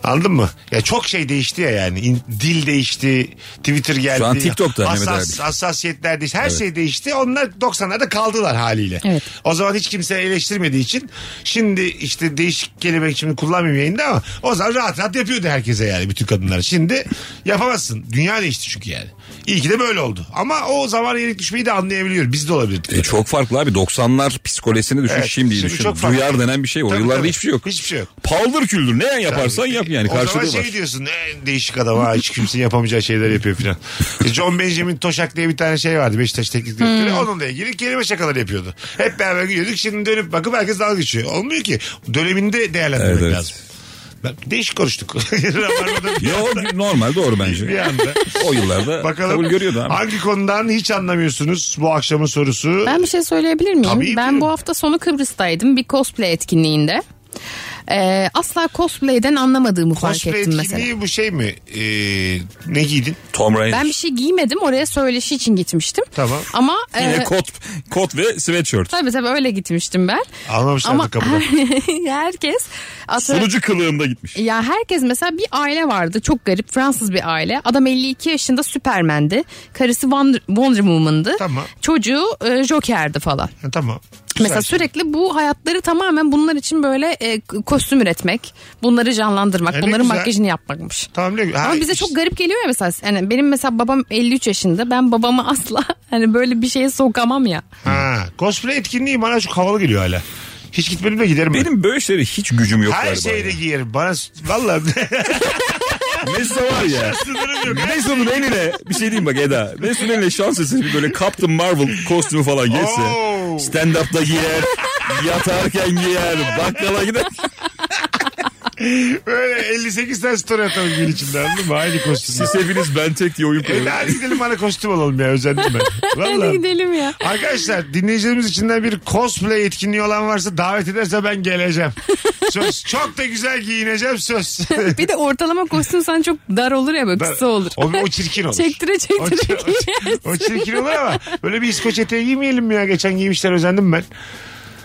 Speaker 2: Anladın mı? Ya çok şey değişti ya yani. İn- dil değişti. Twitter geldi.
Speaker 4: Şu an TikTok'ta Mehmet
Speaker 2: Hassas,
Speaker 4: abi.
Speaker 2: hassasiyetler değişti. Her şey değişti. Onlar 90'larda kaldılar haliyle.
Speaker 3: Evet.
Speaker 2: O zaman hiç kimse eleştirmediği için şimdi işte değişik kelime şimdi kullanmayayım yayında ama o zaman rahat rahat yapıyordu herkese yani bütün kadınlar. Şimdi yapamazsın. Dünya değişti çünkü yani. İyi ki de böyle oldu. Ama o zaman yenik düşmeyi de anlayabiliyorum. Biz de olabilirdik.
Speaker 4: E çok farklı abi 90'lar psikolojisini düşün
Speaker 2: Evet,
Speaker 4: şimdi
Speaker 2: şimdi
Speaker 4: düşün.
Speaker 2: çok farklı.
Speaker 4: Duyar denen bir şey var. O
Speaker 2: Tabii,
Speaker 4: yıllarda
Speaker 2: tabii.
Speaker 4: hiçbir şey yok.
Speaker 2: Hiçbir şey yok.
Speaker 4: Paldır küldür ne yaparsan yap yani
Speaker 2: o zaman
Speaker 4: karşılığı
Speaker 2: şey
Speaker 4: var.
Speaker 2: diyorsun "Ne değişik adam ha hiç kimsenin yapamayacağı şeyler yapıyor filan. E, John Benjamin Toşak diye bir tane şey vardı Beşiktaş teknik direktörü.
Speaker 3: Hmm.
Speaker 2: Onunla ilgili kelime şakaları yapıyordu. Hep beraber gülüyorduk şimdi dönüp bakıp herkes dalga geçiyor. Olmuyor ki döneminde değerlendirmek
Speaker 4: Evet, evet.
Speaker 2: lazım. Ben- Değişik konuştuk. Rabarba'da bir-
Speaker 4: Ya o normal doğru bence.
Speaker 2: bir anda.
Speaker 4: O yıllarda
Speaker 2: Bakalım
Speaker 4: kabul görüyordu abi.
Speaker 2: hangi konudan hiç anlamıyorsunuz bu akşamın sorusu.
Speaker 3: Ben bir şey söyleyebilir miyim?
Speaker 2: Tabii,
Speaker 3: ben
Speaker 2: buyurun.
Speaker 3: bu hafta sonu Kıbrıs'taydım bir cosplay etkinliğinde. Ee, asla cosplay'den anlamadığımı fark
Speaker 2: Cosplay
Speaker 3: ettim
Speaker 2: etkinliği
Speaker 3: mesela.
Speaker 2: bu şey mi? Ee, ne giydin?
Speaker 4: Tom Ryan.
Speaker 3: Ben bir şey giymedim oraya söyleşi için gitmiştim.
Speaker 2: Tamam.
Speaker 3: Ama
Speaker 4: Yine
Speaker 3: e,
Speaker 4: kot, kot ve sweatshirt.
Speaker 3: tabii tabii öyle gitmiştim ben.
Speaker 2: Anlamışlardı
Speaker 3: Ama
Speaker 2: kapıda.
Speaker 3: herkes atıyorum-
Speaker 4: Sunucu kılığında gitmiş.
Speaker 3: Ya herkes mesela bir aile vardı çok garip Fransız bir aile. Adam 52 yaşında Süpermen'di. Karısı Wonder, Wonder Woman'dı.
Speaker 2: Tamam.
Speaker 3: Çocuğu e, Joker'di falan.
Speaker 2: Ha, tamam.
Speaker 3: Mesela
Speaker 2: şey.
Speaker 3: sürekli bu hayatları tamamen bunlar için böyle e, k- kostüm üretmek, bunları canlandırmak,
Speaker 2: E ne
Speaker 3: bunların
Speaker 2: güzel.
Speaker 3: makyajını yapmakmış.
Speaker 2: Tamam ne ha,
Speaker 3: Ama bize çok garip geliyor ya mesela. Yani benim mesela babam 53 yaşında. Ben babamı asla hani böyle bir şeye sokamam ya.
Speaker 2: Ha, cosplay etkinliği bana çok havalı geliyor hala. Hiç gitmedim de giderim. ben.
Speaker 4: Benim böyle şeylere hiç gücüm yok
Speaker 2: Her
Speaker 4: galiba.
Speaker 2: şeyde giyerim. Bana valla
Speaker 4: Mesut var ya.
Speaker 2: sınırım yok.
Speaker 4: Mesut'un eline bir şey diyeyim bak Eda. Mesut'un eline şans eseri bir böyle Captain Marvel kostümü falan geçse.
Speaker 2: Oo.
Speaker 4: Stand-up'ta giyer. Yatarken giyer. Bakkala gider.
Speaker 2: Böyle 58 tane story atalım gün içinde anladın mı? Aynı kostüm.
Speaker 4: Siz hepiniz ben tek diye oyun
Speaker 2: E,
Speaker 4: koyuyorsunuz.
Speaker 2: hadi gidelim bana kostüm alalım ya özendim ben.
Speaker 3: Hadi
Speaker 2: Valla.
Speaker 3: gidelim ya.
Speaker 2: Arkadaşlar dinleyicilerimiz içinden bir cosplay etkinliği olan varsa davet ederse ben geleceğim. Söz. Çok da güzel giyineceğim söz.
Speaker 3: Bir de ortalama kostüm sen çok dar olur ya böyle kısa olur.
Speaker 2: O, o çirkin olur.
Speaker 3: Çektire
Speaker 2: O, çi-
Speaker 3: çektire
Speaker 2: o çi-
Speaker 3: giyersin.
Speaker 2: o çirkin olur ama böyle bir İskoç eteği giymeyelim mi ya? Geçen giymişler özendim ben.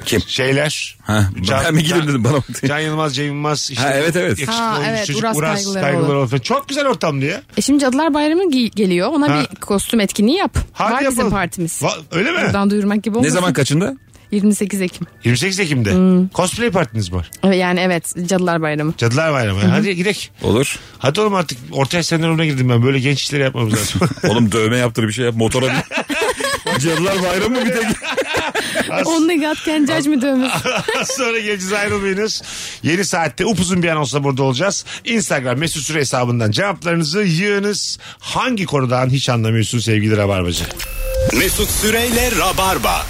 Speaker 4: Kim?
Speaker 2: Şeyler.
Speaker 4: Ha,
Speaker 2: Can-
Speaker 4: ben mi gidelim dedim bana bak.
Speaker 2: Can Yılmaz, Cem Yılmaz. Işte
Speaker 4: Ha, evet, evet.
Speaker 2: yakışıklı
Speaker 3: Ha,
Speaker 2: olmuş
Speaker 3: evet,
Speaker 2: çocuk,
Speaker 3: Uras
Speaker 2: Uras,
Speaker 3: Kaygıları
Speaker 2: Kaygıları Olur. falan. Çok güzel ortamdı ya.
Speaker 3: E şimdi Cadılar Bayramı gi- geliyor. Ona
Speaker 2: Ha.
Speaker 3: bir kostüm etkinliği yap.
Speaker 2: Hadi
Speaker 3: Var bizim
Speaker 2: yapalım.
Speaker 3: partimiz.
Speaker 2: Va- öyle mi?
Speaker 3: Buradan duyurmak gibi
Speaker 4: Ne
Speaker 3: olmasın.
Speaker 4: zaman kaçında?
Speaker 3: 28 Ekim.
Speaker 2: 28 Ekim'de.
Speaker 3: Hmm.
Speaker 2: Cosplay partiniz var.
Speaker 3: E, Yani evet Cadılar Bayramı.
Speaker 2: Cadılar Bayramı. Hadi gidelim.
Speaker 4: Olur.
Speaker 2: Hadi oğlum artık ortaya sendromuna girdim ben. Böyle genç işleri yapmamız lazım.
Speaker 4: Oğlum dövme yaptır bir şey yap. Motora bin. Cadılar bayramı mı bir tek?
Speaker 3: Only God Can Judge mi dövmesi?
Speaker 2: Az sonra geleceğiz ayrılmayınız. Yeni saatte upuzun bir an olsa burada olacağız. Instagram mesut süre hesabından cevaplarınızı yığınız. Hangi konudan hiç anlamıyorsun sevgili Rabarbacı?
Speaker 1: Mesut Süreyle Rabarba.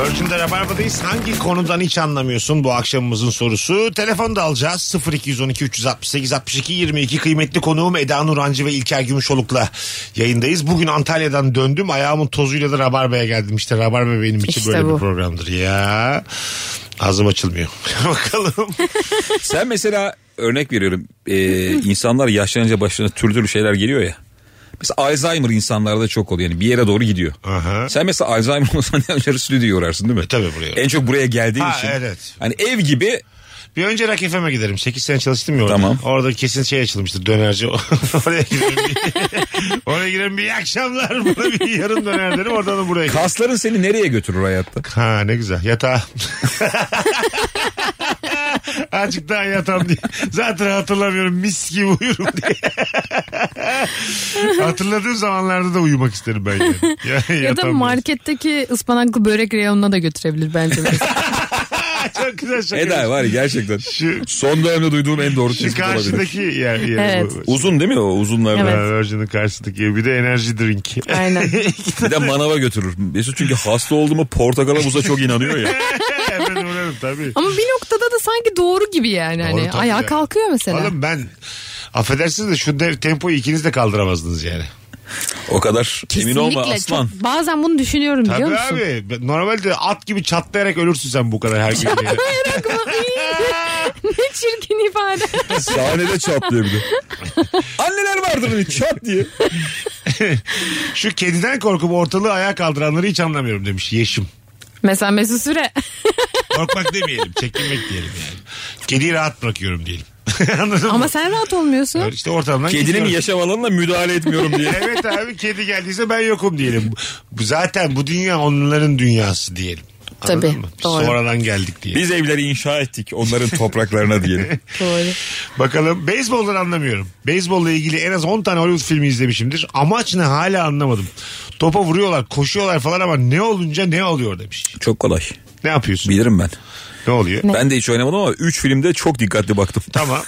Speaker 2: Virgin'de Rabarba'dayız. Hangi konudan hiç anlamıyorsun bu akşamımızın sorusu? Telefonu da alacağız. 0212 368 62 22 kıymetli konuğum Eda Nurancı ve İlker Gümüşoluk'la yayındayız. Bugün Antalya'dan döndüm. Ayağımın tozuyla da Rabarba'ya geldim. İşte Rabarba benim için
Speaker 3: İşte
Speaker 2: böyle
Speaker 3: bu.
Speaker 2: bir programdır ya. Ağzım açılmıyor. Bakalım.
Speaker 4: Sen mesela örnek veriyorum. Ee, insanlar yaşlanınca başlarına türlü türlü şeyler geliyor ya. Mesela Alzheimer insanlarda çok oluyor. Yani bir yere doğru gidiyor.
Speaker 2: Aha.
Speaker 4: Sen mesela Alzheimer olsan yarı stüdyo uğrarsın değil mi?
Speaker 2: E, tabii buraya.
Speaker 4: En çok buraya geldiğin
Speaker 2: Ha,
Speaker 4: için.
Speaker 2: evet.
Speaker 4: Hani ev gibi
Speaker 2: Bir önce Rakifem'e giderim. 8 sene çalıştım ya orada.
Speaker 4: Tamam.
Speaker 2: Orada kesin şey açılmıştır. Dönerci. Oraya girerim. Bir- Oraya girerim. Bir iyi akşamlar. Buna bir yarım döner derim. Oradan da buraya giderim.
Speaker 4: kasların seni nereye götürür hayatta?
Speaker 2: Ha ne güzel. Yatağa. Azıcık daha yatam diye. Zaten hatırlamıyorum mis gibi uyurum diye. Hatırladığım zamanlarda da uyumak isterim ben. Yani. Ya,
Speaker 3: Ya da
Speaker 2: yatam diye.
Speaker 3: marketteki ıspanaklı börek reyonuna da götürebilir bence.
Speaker 2: Çok güzel şaka.
Speaker 4: Eda var ya gerçekten.
Speaker 2: Şu,
Speaker 4: Son dönemde duyduğum en doğru
Speaker 2: şu
Speaker 4: tespit olabilir.
Speaker 2: karşıdaki yer. yer
Speaker 3: Evet.
Speaker 2: bu.
Speaker 4: Uzun değil mi o uzunlarda?
Speaker 3: Evet.
Speaker 2: Ha, Virgin'in karşısındaki yer. Bir de enerji drink.
Speaker 3: Aynen.
Speaker 4: Bir de manava götürür. Mesut çünkü hasta oldu mu portakala muza çok inanıyor ya.
Speaker 2: ben uğrarım tabii.
Speaker 3: Ama bir noktada da sanki doğru gibi yani.
Speaker 2: Doğru
Speaker 3: Hani
Speaker 2: tabii
Speaker 3: ayağa
Speaker 2: ya.
Speaker 3: kalkıyor mesela.
Speaker 2: Oğlum ben affedersiniz de şu dev tempoyu ikiniz de kaldıramazdınız yani.
Speaker 4: O kadar
Speaker 3: Kesinlikle.
Speaker 4: emin olma
Speaker 3: çok-
Speaker 4: aslan.
Speaker 3: bazen bunu düşünüyorum biliyor
Speaker 2: Tabii
Speaker 3: musun?
Speaker 2: abi. Normalde at gibi çatlayarak ölürsün sen bu kadar her gün. yani.
Speaker 3: ne çirkin ifade.
Speaker 4: Sahnede çatlıyor bir de. Anneler vardır hani çat diye.
Speaker 2: Şu kediden korkup ortalığı ayağa kaldıranları hiç anlamıyorum demiş Yeşim.
Speaker 3: mesela Mesut Süre.
Speaker 2: Korkmak demeyelim. Çekinmek diyelim yani. Kediyi rahat bırakıyorum diyelim. Anladın mı?
Speaker 3: Ama sen rahat olmuyorsun.
Speaker 2: İşte ortamdan
Speaker 4: Kedinin
Speaker 2: gidiyorum.
Speaker 4: yaşam alanına müdahale etmiyorum diye.
Speaker 2: Evet abi kedi geldiyse ben yokum diyelim. Bu- Zaten bu dünya onların dünyası diyelim. Anladın
Speaker 3: Tabii,
Speaker 2: mı? Biz
Speaker 3: doğru.
Speaker 2: Sonradan geldik diye.
Speaker 4: Biz evleri inşa ettik onların topraklarına diyelim.
Speaker 3: Doğru.
Speaker 2: Bakalım beyzboldan anlamıyorum. Beyzbolla ilgili en az 10 tane Hollywood filmi izlemişimdir. Amaç ne hala anlamadım. Topa vuruyorlar, koşuyorlar falan ama ne olunca ne oluyor demiş.
Speaker 4: Çok kolay.
Speaker 2: Ne yapıyorsun?
Speaker 4: Bilirim ben.
Speaker 2: Ne oluyor?
Speaker 3: Ne?
Speaker 4: Ben de hiç oynamadım ama 3 filmde çok dikkatli baktım.
Speaker 2: Tamam.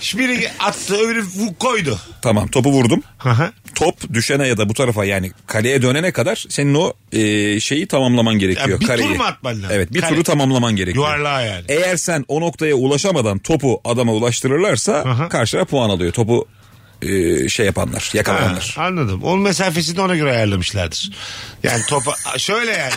Speaker 2: Şimdi biri attı öbürü vu- koydu.
Speaker 4: Tamam topu vurdum.
Speaker 2: Aha.
Speaker 4: Top düşene ya da bu tarafa yani kaleye dönene kadar senin o e, şeyi tamamlaman gerekiyor.
Speaker 2: Ya bir tur
Speaker 4: kareyi.
Speaker 2: mu atman lazım?
Speaker 4: Evet bir
Speaker 2: Kare.
Speaker 4: turu tamamlaman gerekiyor.
Speaker 2: Yuvarlağa yani.
Speaker 4: Eğer sen o noktaya ulaşamadan topu adama ulaştırırlarsa
Speaker 2: Aha.
Speaker 4: karşıya puan alıyor. Topu e, şey yapanlar,
Speaker 2: Ha,
Speaker 4: yakalayanlar.
Speaker 2: anladım. Onun mesafesini de ona göre ayarlamışlardır. Yani topa şöyle yani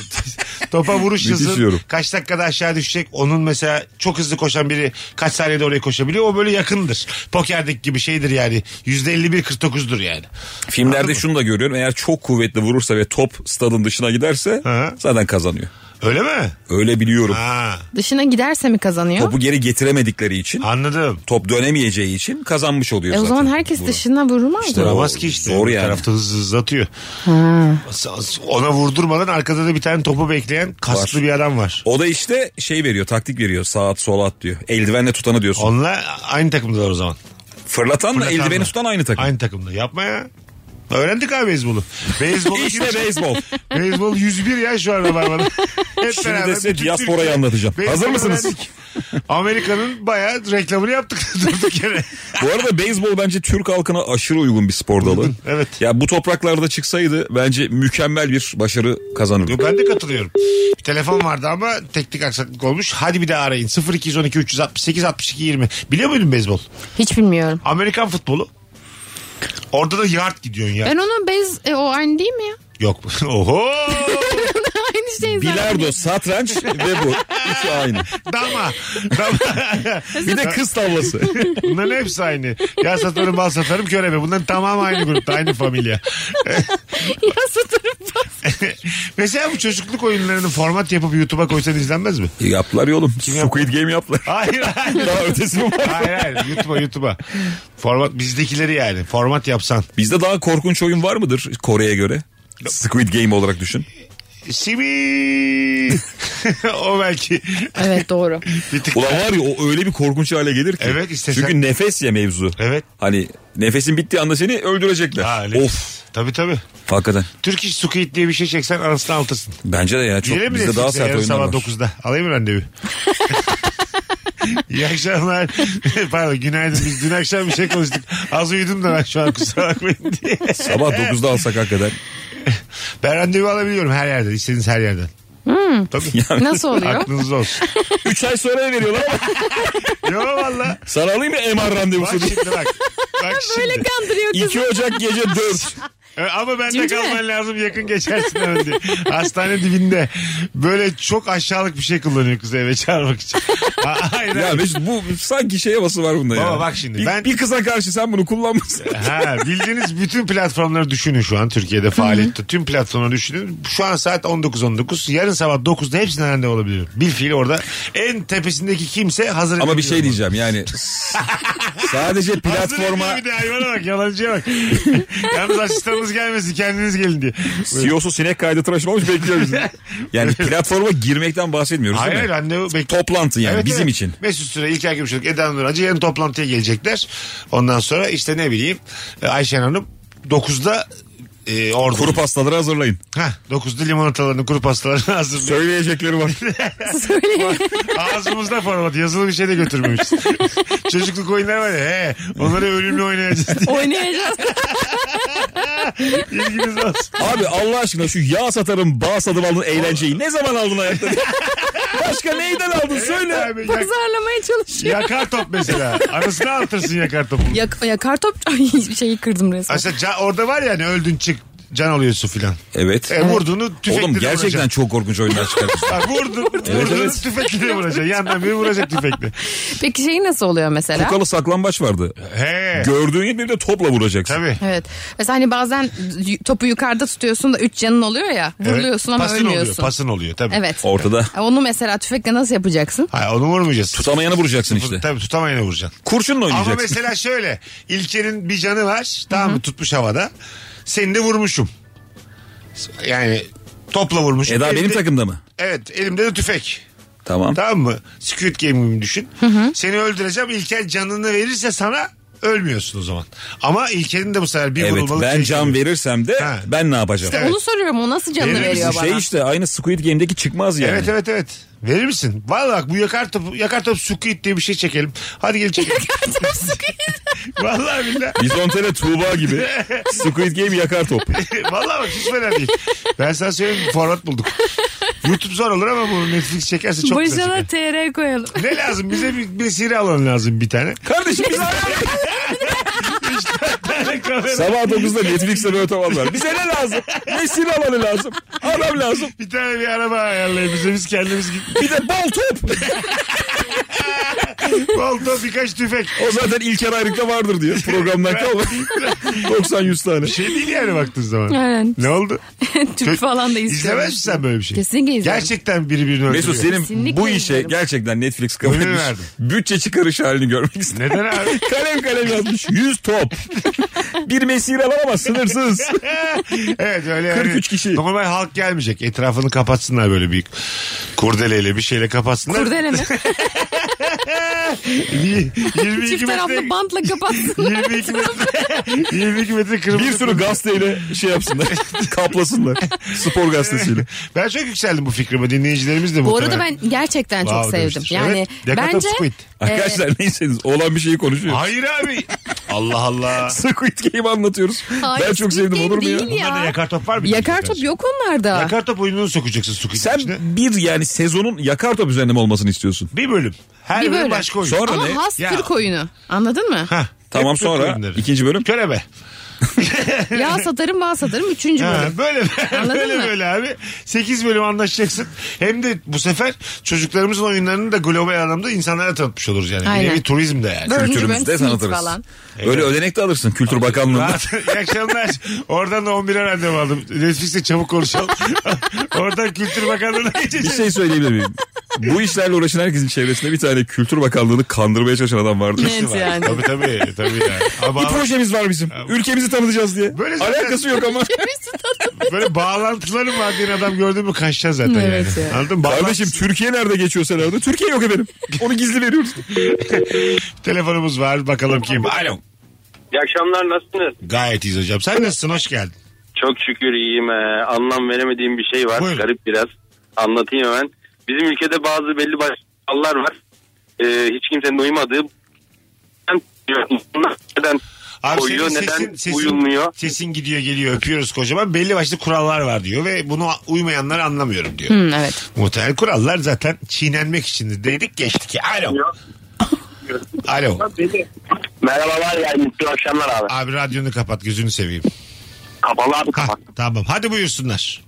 Speaker 2: topa vuruş
Speaker 4: Müthiş
Speaker 2: hızı
Speaker 4: yorum.
Speaker 2: kaç dakikada aşağı düşecek. Onun mesela çok hızlı koşan biri kaç saniyede oraya koşabiliyor. O böyle yakındır. Pokerdeki gibi şeydir yani. %51-49'dur yani.
Speaker 4: Filmlerde şunu da görüyorum. Eğer çok kuvvetli vurursa ve top stadın dışına giderse
Speaker 2: Aha.
Speaker 4: zaten kazanıyor.
Speaker 2: Öyle mi?
Speaker 4: Öyle biliyorum.
Speaker 2: Ha,
Speaker 3: Dışına giderse mi kazanıyor? E,
Speaker 4: Topu geri getiremedikleri için,
Speaker 2: anladım.
Speaker 4: top dönemeyeceği için kazanmış oluyor
Speaker 3: E o
Speaker 4: zaten.
Speaker 3: zaman herkes
Speaker 4: Bunu.
Speaker 3: dışına vurmaz
Speaker 4: İşte
Speaker 3: mı?
Speaker 2: Vuramaz ki işte.
Speaker 4: Zor
Speaker 2: Bir
Speaker 4: yani.
Speaker 2: tarafta hızlı hızlı atıyor. Ona vurdurmadan arkada da bir tane topu bekleyen kaslı
Speaker 4: Var.
Speaker 2: bir adam var.
Speaker 4: O da işte şey veriyor, taktik veriyor. Sağ at, sol at diyor. Eldivenle tutanı diyorsun.
Speaker 2: Onlar aynı takımdalar o zaman.
Speaker 4: Fırlatanla
Speaker 2: Fırlatan
Speaker 4: eldiveni
Speaker 2: mı?
Speaker 4: tutan aynı takım.
Speaker 2: Aynı takımda. Yapma ya. Öğrendik abi beyzbolu. Beyzbol
Speaker 4: İşte beyzbol.
Speaker 2: Beyzbol 101 ya şu anda barbada. Hep
Speaker 4: Şimdi
Speaker 2: beraber
Speaker 4: de size
Speaker 2: bütün
Speaker 4: diasporayı
Speaker 2: Türkiye
Speaker 4: anlatacağım.
Speaker 2: beyzbol
Speaker 4: Hazır mısınız?
Speaker 2: öğrendik. Amerika'nın bayağı reklamını yaptık durduk yere.
Speaker 4: Bu arada beyzbol bence Türk halkına aşırı uygun bir spor dalı.
Speaker 2: Evet.
Speaker 4: Ya bu topraklarda çıksaydı bence mükemmel bir başarı
Speaker 2: Yo,
Speaker 4: kazanırdı.
Speaker 2: ben de katılıyorum. Bir telefon vardı ama teknik aksaklık olmuş. Hadi bir daha arayın. 0212 368 62 20. Biliyor muydun beyzbol?
Speaker 3: Hiç bilmiyorum.
Speaker 2: Amerikan futbolu. Orada da yard gidiyorsun ya.
Speaker 3: Ben onun bez e, o aynı değil mi ya?
Speaker 2: Yok. Oho.
Speaker 3: aynı şey zaten.
Speaker 4: Bilardo, satranç ve bu. Üçü aynı.
Speaker 2: Dama. Dama.
Speaker 4: Bir de kız tavlası.
Speaker 2: Bunların hepsi aynı. Ya satarım bal satarım körebe. Bunların tamamı aynı grupta aynı familya.
Speaker 3: Ya satarım bas.
Speaker 2: Mesela bu çocukluk oyunlarını format yapıp YouTube'a koysan izlenmez mi?
Speaker 4: yaptılar ya oğlum. Squid Game yaptılar.
Speaker 2: Hayır hayır.
Speaker 4: Daha ötesi mi var?
Speaker 2: Hayır hayır YouTube'a YouTube'a. Format bizdekileri yani format yapsan.
Speaker 4: Bizde daha korkunç oyun var mıdır Kore'ye göre? Squid Game olarak düşün.
Speaker 2: Simi. o belki.
Speaker 3: Evet doğru.
Speaker 2: Bir tık.
Speaker 4: Ulan var ya o öyle bir korkunç hale gelir ki.
Speaker 2: Evet, istesen-
Speaker 4: Çünkü nefes ya mevzu.
Speaker 2: Evet.
Speaker 4: Hani nefesin bittiği anda seni öldürecekler.
Speaker 2: Ha, öyle.
Speaker 4: of.
Speaker 2: Tabii tabii.
Speaker 4: Hakikaten.
Speaker 2: Türk İş Squid diye bir şey çeksen anasını altırsın.
Speaker 4: Bence de ya çok
Speaker 2: Gelelim
Speaker 4: bizde daha
Speaker 2: Netflix'e
Speaker 4: sert
Speaker 2: yarın
Speaker 4: oyunlar var.
Speaker 2: sabah 9'da. Alayım mı randevu? İyi akşamlar. Pardon günaydın. Biz dün akşam bir şey konuştuk. Az uyudum da ben şu an kusura bakmayın diye.
Speaker 4: Sabah 9'da alsak hakikaten.
Speaker 2: Ben randevu alabiliyorum her yerden. İstediğiniz her yerden. Tabii.
Speaker 3: Nasıl Hmm. oluyor?
Speaker 2: Aklınızda olsun.
Speaker 4: 3 ay sonra veriyorlar ama
Speaker 2: Yo valla.
Speaker 4: sana alayım mı MR
Speaker 2: Bak
Speaker 4: randevusu?
Speaker 2: şimdi bak. Bak
Speaker 3: Böyle
Speaker 2: şimdi.
Speaker 3: kandırıyor kızı.
Speaker 4: 2 Ocak gece 4.
Speaker 2: Ee, Ama bende
Speaker 3: Cimcime.
Speaker 2: kalman lazım yakın geçersin hemen diye. Hastane dibinde. Böyle çok aşağılık bir şey kullanıyor kızı eve çağırmak için. Ha, Hayır.
Speaker 4: ya
Speaker 2: hayır.
Speaker 4: Mesut bu sanki şey havası var bunda ya.
Speaker 2: Baba bak şimdi
Speaker 4: Bir,
Speaker 2: ben-
Speaker 4: bir kıza karşı sen bunu kullanmışsın.
Speaker 2: Ha, bildiğiniz bütün platformları düşünün şu an Türkiye'de faaliyette. Tüm platformları düşünün. Şu an saat 19.19. Yarın sabah 9'da hepsinden randevu olabilirim. Bir fiil orada. En tepesindeki kimse hazır
Speaker 4: Ama bir şey
Speaker 2: edebiliyor.
Speaker 4: diyeceğim yani. sadece
Speaker 2: Hazır
Speaker 4: platforma
Speaker 2: ediyor Bir de hayvana bak yalancıya bak. Yalnız asistanını başınız gelmesin kendiniz gelin diye.
Speaker 4: CEO'su E sinek kaydı tıraşın olmuş bekliyor bizi. Yani platforma girmekten bahsetmiyoruz
Speaker 2: Hayır
Speaker 4: değil
Speaker 2: hayır
Speaker 4: mi?
Speaker 2: anne o bek-
Speaker 4: Toplantı yani
Speaker 2: Evet,
Speaker 4: bizim
Speaker 2: evet.
Speaker 4: için.
Speaker 2: Mesut Süre, İlker Gümüşoluk, Eda Nur Hacı yarın toplantıya gelecekler. Ondan sonra işte ne bileyim e, Ayşen Hanım 9'da e, orada.
Speaker 4: Kuru pastaları hazırlayın.
Speaker 2: Hah, 9'da limonatalarını kuru pastalarını hazırlıyor.
Speaker 4: Söyleyecekleri var.
Speaker 2: Ağzımızda format yazılı bir şey de götürmemişiz. Çocukluk oyunları var ya he, onları ölümlü oynayacağız diye
Speaker 3: Oynayacağız.
Speaker 2: ilginiz olsun.
Speaker 4: Abi Allah aşkına şu yağ satarım bağ satın aldın eğlenceyi ne zaman aldın hayatta? Başka neyden aldın söyle.
Speaker 2: Abi, yak-
Speaker 3: Pazarlamaya çalışıyor.
Speaker 2: yakar top mesela. Anasını ağlatırsın yakar topu.
Speaker 3: Yak, yakar top Ay, şeyi kırdım resmen.
Speaker 2: Aslında ca- orada var ya hani öldün çık can oluyorsun filan.
Speaker 4: Evet.
Speaker 2: E, vurduğunu tüfekle
Speaker 4: Oğlum gerçekten çok korkunç oyunlar çıkartmışlar.
Speaker 2: Ha, vurdun,
Speaker 4: Evet,
Speaker 2: vurdun
Speaker 4: evet.
Speaker 2: tüfekle vuracaksın. Yandan biri vuracak tüfekle.
Speaker 3: Peki şey nasıl oluyor mesela?
Speaker 4: Kukalı saklambaç vardı.
Speaker 2: He.
Speaker 4: Gördüğün gibi bir de topla vuracaksın.
Speaker 2: Tabii.
Speaker 3: Evet. Mesela hani bazen y- topu yukarıda tutuyorsun da üç canın oluyor ya. Vuruluyorsun ama
Speaker 2: pasın
Speaker 3: ölmüyorsun.
Speaker 2: Oluyor, pasın oluyor tabii.
Speaker 3: Evet. E,
Speaker 4: Ortada.
Speaker 3: Onu mesela tüfekle nasıl yapacaksın?
Speaker 2: Hayır onu vurmayacaksın.
Speaker 4: Tutamayanı vuracaksın işte.
Speaker 2: Tabii tutamayana vuracaksın. Ama
Speaker 4: Kurşunla oynayacaksın.
Speaker 2: mesela şöyle. İlker'in bir canı var. Tamam mı? Tutmuş havada. Seni de vurmuşum. Yani topla vurmuşum.
Speaker 4: Eda benim
Speaker 2: Elimde-
Speaker 4: takımda mı?
Speaker 2: Evet elimde de tüfek.
Speaker 4: Tamam.
Speaker 2: Tamam mı? Squid Game gibi düşün. Seni öldüreceğim. İlker canını verirse sana ölmüyorsun o zaman. Ama İlker'in de bu sefer bir
Speaker 4: Evet
Speaker 2: vurulmalık
Speaker 4: ben
Speaker 2: şey
Speaker 4: can
Speaker 2: yok.
Speaker 4: verirsem de
Speaker 2: Ha.
Speaker 4: ben ne yapacağım?
Speaker 2: Evet.
Speaker 3: Onu soruyorum o nasıl canını
Speaker 2: Verir misin?
Speaker 3: veriyor bana?
Speaker 4: Şey işte aynı Squid Game'deki çıkmaz yani.
Speaker 2: Evet evet evet. Verir misin? Vallahi bak bu yakar topu, yakar topu squid diye bir şey çekelim. Hadi gelin çekelim. Vallahi billahi.
Speaker 4: Bizontele Tuğba gibi. Squid Game yakar top.
Speaker 2: Vallahi bak hiç fena değil. Ben sana söyleyeyim format bulduk. YouTube zor olur ama bunu Netflix çekerse çok güzel
Speaker 3: Başına
Speaker 2: çıkar.
Speaker 3: TR koyalım.
Speaker 2: Ne lazım? Bize bir, bir seri alalım lazım bir tane.
Speaker 4: Kardeşim biz sabah 9'da Netflix'te böyle tamam var. Bize ne lazım? Ne silahları lazım? Adam lazım.
Speaker 2: bir tane bir araba ayarlayın bize. Biz kendimiz git.
Speaker 4: Bir de bal top.
Speaker 2: Oldu birkaç tüfek.
Speaker 4: O zaten İlker Ayrık'ta vardır diyor. Programdan kalma. 90-100 tane.
Speaker 2: Bir şey değil yani baktığın zaman.
Speaker 3: Aynen.
Speaker 2: Ne oldu?
Speaker 3: Tüp falan da izliyorum.
Speaker 2: İzlemez misin sen böyle bir şey?
Speaker 3: Kesinlikle izlerim.
Speaker 2: Gerçekten birbirini öldürüyor.
Speaker 4: Mesut senin
Speaker 3: Kesinlikle
Speaker 4: bu işe
Speaker 3: izlerim.
Speaker 4: gerçekten Netflix kabul
Speaker 2: Ömür
Speaker 4: etmiş.
Speaker 2: verdim.
Speaker 4: Bütçe çıkarış halini görmek istedim.
Speaker 2: Neden abi?
Speaker 4: Kalem kalem yazmış. 100 top. bir mesire alamaz sınırsız.
Speaker 2: evet öyle yani.
Speaker 4: 43 kişi.
Speaker 2: Normal halk gelmeyecek. Etrafını kapatsınlar böyle bir kurdeleyle bir şeyle kapatsınlar.
Speaker 3: Kurdele mi?
Speaker 2: Y- 22
Speaker 3: Çift taraflı
Speaker 2: metre-
Speaker 3: bantla kapatsın.
Speaker 2: 22 metre, 22 metre kırmızı.
Speaker 4: bir sürü gazeteyle şey yapsınlar. Kaplasınlar. Spor gazetesiyle.
Speaker 2: Ben çok yükseldim bu fikrime. Dinleyicilerimiz de
Speaker 3: Bu arada
Speaker 2: muhtemelen.
Speaker 3: ben gerçekten çok
Speaker 2: Wow
Speaker 3: sevdim.
Speaker 2: demiştir.
Speaker 3: Yani
Speaker 2: Evet, Yakata
Speaker 3: bence
Speaker 2: Squid.
Speaker 4: Arkadaşlar neyseniz olan bir şeyi konuşuyoruz.
Speaker 2: Hayır abi. Allah Allah.
Speaker 4: Squid Game anlatıyoruz.
Speaker 3: Hayır,
Speaker 4: ben çok
Speaker 3: Squid
Speaker 4: sevdim
Speaker 3: Game
Speaker 4: olur mu ya?
Speaker 3: değil ya.
Speaker 2: Bunlarda yakar top var mı?
Speaker 3: yakar top yok onlarda.
Speaker 2: Yakar top oyununu sokacaksın Squid
Speaker 4: Sen
Speaker 2: içine.
Speaker 4: bir yani sezonun yakar top üzerinde mi olmasını istiyorsun?
Speaker 2: Bir bölüm. Her
Speaker 3: Bir
Speaker 2: bölüm,
Speaker 3: bölüm.
Speaker 2: başka oyun.
Speaker 4: Sonra
Speaker 3: Ama
Speaker 4: ne?
Speaker 3: has
Speaker 2: Ya.
Speaker 3: Türk oyunu. Anladın mı?
Speaker 2: Hah.
Speaker 4: Tamam
Speaker 2: Hep Türk
Speaker 4: sonra
Speaker 2: oyunları.
Speaker 4: ikinci bölüm.
Speaker 2: Körebe.
Speaker 3: ya satarım ben satarım. Üçüncü
Speaker 2: Ha,
Speaker 3: bölüm.
Speaker 2: böyle
Speaker 3: Anladın
Speaker 2: böyle
Speaker 3: mı?
Speaker 2: böyle abi. 8 bölüm anlaşacaksın. Hem de bu sefer çocuklarımızın oyunlarını da global anlamda insanlara tanıtmış oluruz yani. Bir
Speaker 3: Aynen.
Speaker 2: nevi turizm de yani.
Speaker 3: Dördüncü
Speaker 4: Kültürümüzde
Speaker 3: bölüm Smith
Speaker 4: tanıtırız.
Speaker 3: falan.
Speaker 4: Öyle ödenek de alırsın Kültür Bakanlığı'ndan.
Speaker 2: Rahat. İyi akşamlar. Oradan da 11'e randevu aldım. Netflix'te çabuk konuşalım. Oradan Kültür Bakanlığı'na
Speaker 4: bir
Speaker 2: geçeceğiz.
Speaker 4: şey söyleyebilir miyim? Bu işlerle uğraşan herkesin çevresinde bir tane Kültür Bakanlığı'nı kandırmaya çalışan adam vardır.
Speaker 3: Evet şey yani.
Speaker 2: Tabii tabii. tabii yani. Ama
Speaker 4: Bir projemiz var bizim. Ülkemizi tanıtacağız diye.
Speaker 2: Böyle zaten-
Speaker 4: Alakası yok ama.
Speaker 2: böyle bağlantıları var diyen adam gördün mü kaçacağız zaten
Speaker 3: Evet
Speaker 2: yani.
Speaker 3: ya.
Speaker 2: Anladın mı?
Speaker 4: Kardeşim Türkiye nerede geçiyor senaryoda? Türkiye yok efendim. Onu gizli veriyoruz.
Speaker 2: Bağlantı- Telefonumuz var bakalım kim. Alo.
Speaker 5: İyi akşamlar nasılsınız?
Speaker 2: Gayet iyiyiz hocam. Sen nasılsın? Hoş geldin.
Speaker 5: Çok şükür iyiyim. Ee, anlam veremediğim bir şey var.
Speaker 2: Buyurun.
Speaker 5: Garip biraz. Anlatayım hemen. Bizim ülkede bazı belli başlı kurallar var. Ee, hiç kimsenin uymadığı neden
Speaker 2: Abi
Speaker 5: koyuyor,
Speaker 2: senin
Speaker 5: neden
Speaker 2: sesin, sesin,
Speaker 5: uyulmuyor?
Speaker 2: sesin gidiyor geliyor öpüyoruz kocaman. Belli başlı kurallar var diyor ve bunu uymayanları anlamıyorum diyor.
Speaker 3: Hmm, evet.
Speaker 2: Muhtemelen kurallar zaten çiğnenmek için dedik geçtik. ya. Alo. Alo.
Speaker 5: Merhabalar yani mutlu akşamlar abi.
Speaker 2: Abi radyonu kapat gözünü seveyim.
Speaker 5: Kapalı abi
Speaker 2: Hah,
Speaker 5: kapattım.
Speaker 2: tamam hadi buyursunlar.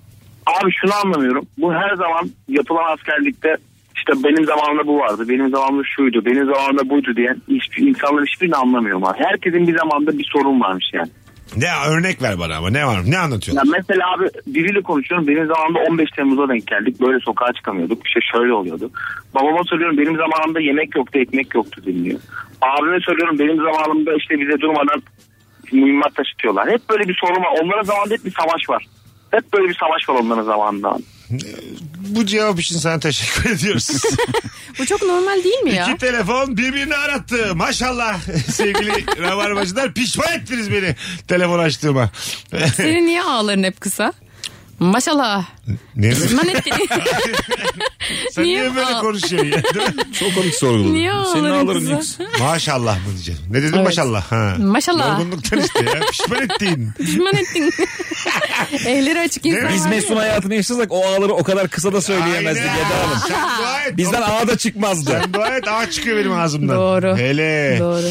Speaker 5: Abi şunu anlamıyorum. Bu her zaman yapılan askerlikte işte benim zamanımda bu vardı, benim zamanımda şuydu, benim zamanımda buydu diyen hiç, insanlar hiçbirini anlamıyorum abi. Herkesin bir zamanda bir sorun varmış yani.
Speaker 2: Ne örnek ver bana ama ne var ne
Speaker 5: Ya
Speaker 2: anlatıyorsun?
Speaker 5: mesela abi biriyle konuşuyorum. Benim zamanımda 15 Temmuz'a denk geldik. Böyle sokağa çıkamıyorduk. İşte şöyle oluyordu. Babama soruyorum benim zamanımda yemek yoktu, ekmek yoktu dinliyor. Abime soruyorum benim zamanımda işte bize durmadan mühimmat taşıtıyorlar. Hep böyle bir sorun var. Onların zamanında hep bir savaş var. Hep böyle bir savaş var onların zamanında.
Speaker 2: Bu cevap için sana teşekkür ediyoruz.
Speaker 3: Bu çok normal değil mi ya?
Speaker 2: İki telefon birbirini arattı. Maşallah sevgili rabarbacılar pişman ettiniz beni telefon açtığıma.
Speaker 3: Senin niye ağların hep kısa? Maşallah.
Speaker 2: ne?
Speaker 3: Manet
Speaker 2: Sen niye,
Speaker 3: niye
Speaker 2: böyle
Speaker 3: al-
Speaker 2: konuşuyorsun ya? Değil mi?
Speaker 4: Çok komik sorguladım.
Speaker 3: Niye
Speaker 4: Senin
Speaker 3: ağlarım
Speaker 4: ağların
Speaker 3: kıza?
Speaker 4: kısa.
Speaker 2: Maşallah mı diyeceğim? Ne dedin
Speaker 3: Evet.
Speaker 2: maşallah? Ha.
Speaker 3: Maşallah.
Speaker 2: Yorgunluktan işte ya. Pişman ettin.
Speaker 3: Pişman ettin. Elleri açık insan.
Speaker 4: Biz
Speaker 3: var
Speaker 4: Mesut'un
Speaker 3: ya.
Speaker 4: hayatını yaşasak o ağları o kadar kısa da söyleyemezdik
Speaker 2: Aynen.
Speaker 4: Eda Hanım.
Speaker 2: Sen dua et.
Speaker 4: Bizden ağa da çıkmazdı.
Speaker 2: Sen dua et ağ çıkıyor benim ağzımdan.
Speaker 3: Doğru.
Speaker 2: Hele.
Speaker 3: Doğru.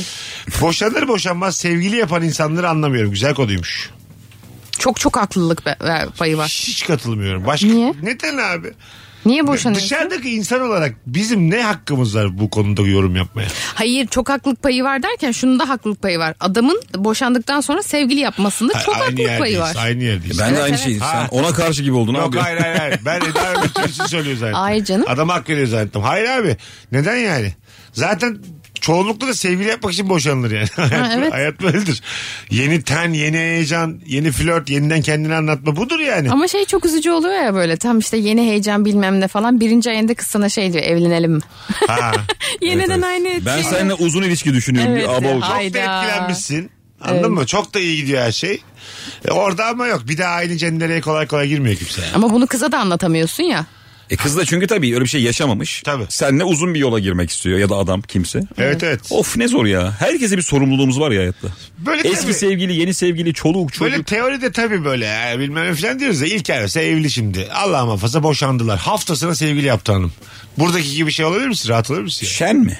Speaker 2: Boşanır boşanmaz sevgili yapan insanları anlamıyorum. Güzel konuymuş.
Speaker 3: Çok çok haklılık be- be- payı var.
Speaker 2: Hiç katılmıyorum. Başka
Speaker 3: Niye?
Speaker 2: Neden abi?
Speaker 3: Niye boşanıyorsun?
Speaker 2: Dışarıdaki insan olarak bizim ne hakkımız var bu konuda yorum yapmaya?
Speaker 3: Hayır çok haklılık payı var derken şunun da haklılık payı var. Adamın boşandıktan sonra sevgili yapmasında çok
Speaker 2: Aynı
Speaker 3: haklılık payı
Speaker 2: yerdeyiz,
Speaker 3: var.
Speaker 2: Aynı yerdeyiz.
Speaker 4: Ben de aynı
Speaker 3: Evet,
Speaker 4: şeydi.
Speaker 2: evet.
Speaker 4: Sen ona karşı gibi oldun
Speaker 2: Yok
Speaker 4: abi.
Speaker 2: hayır hayır hayır. Ben Eda Ömürtürk'ü söylüyor zannettim.
Speaker 3: Ay canım.
Speaker 2: Adam hak veriyor zannettim. Hayır abi. Neden yani? Zaten çoğunlukla da sevgili yapmak için boşanılır yani. hayat,
Speaker 3: evet.
Speaker 2: hayat böyledir. Yeni ten, yeni heyecan, yeni flört, yeniden kendini anlatma budur yani.
Speaker 3: Ama şey çok üzücü oluyor ya böyle tam işte yeni heyecan bilmem ne falan birinci ayında kız sana şey diyor evlenelim mi?
Speaker 2: Ha.
Speaker 3: Yeniden aynı
Speaker 4: Ben
Speaker 3: şey.
Speaker 4: seninle uzun ilişki düşünüyorum.
Speaker 3: Evet,
Speaker 4: bir aba
Speaker 3: ya,
Speaker 4: olacak.
Speaker 3: hayır.
Speaker 2: Çok da
Speaker 3: Hayda.
Speaker 2: etkilenmişsin. Anladın
Speaker 3: Evet.
Speaker 2: mı? Çok da iyi gidiyor her şey. E, orada ama yok. Bir daha aynı cendereye kolay kolay girmiyor kimse. yani.
Speaker 3: Ama bunu kıza da anlatamıyorsun ya.
Speaker 4: E kız da çünkü tabii öyle bir şey yaşamamış.
Speaker 2: Tabii.
Speaker 4: Senle uzun bir yola girmek istiyor ya da adam kimse.
Speaker 2: Evet evet.
Speaker 4: Of ne zor ya. Herkese bir sorumluluğumuz var ya hayatta.
Speaker 2: Böyle
Speaker 4: Eski
Speaker 2: tabii-
Speaker 4: sevgili, yeni sevgili, çoluk, çocuk.
Speaker 2: Böyle teoride tabii böyle ya, bilmem ne falan diyoruz da ilk evse evli şimdi. Allah muhafaza boşandılar. Haftasına sevgili yaptı hanım. Buradaki gibi şey olabilir misin? Rahat olabilir misin?
Speaker 4: Şen mi?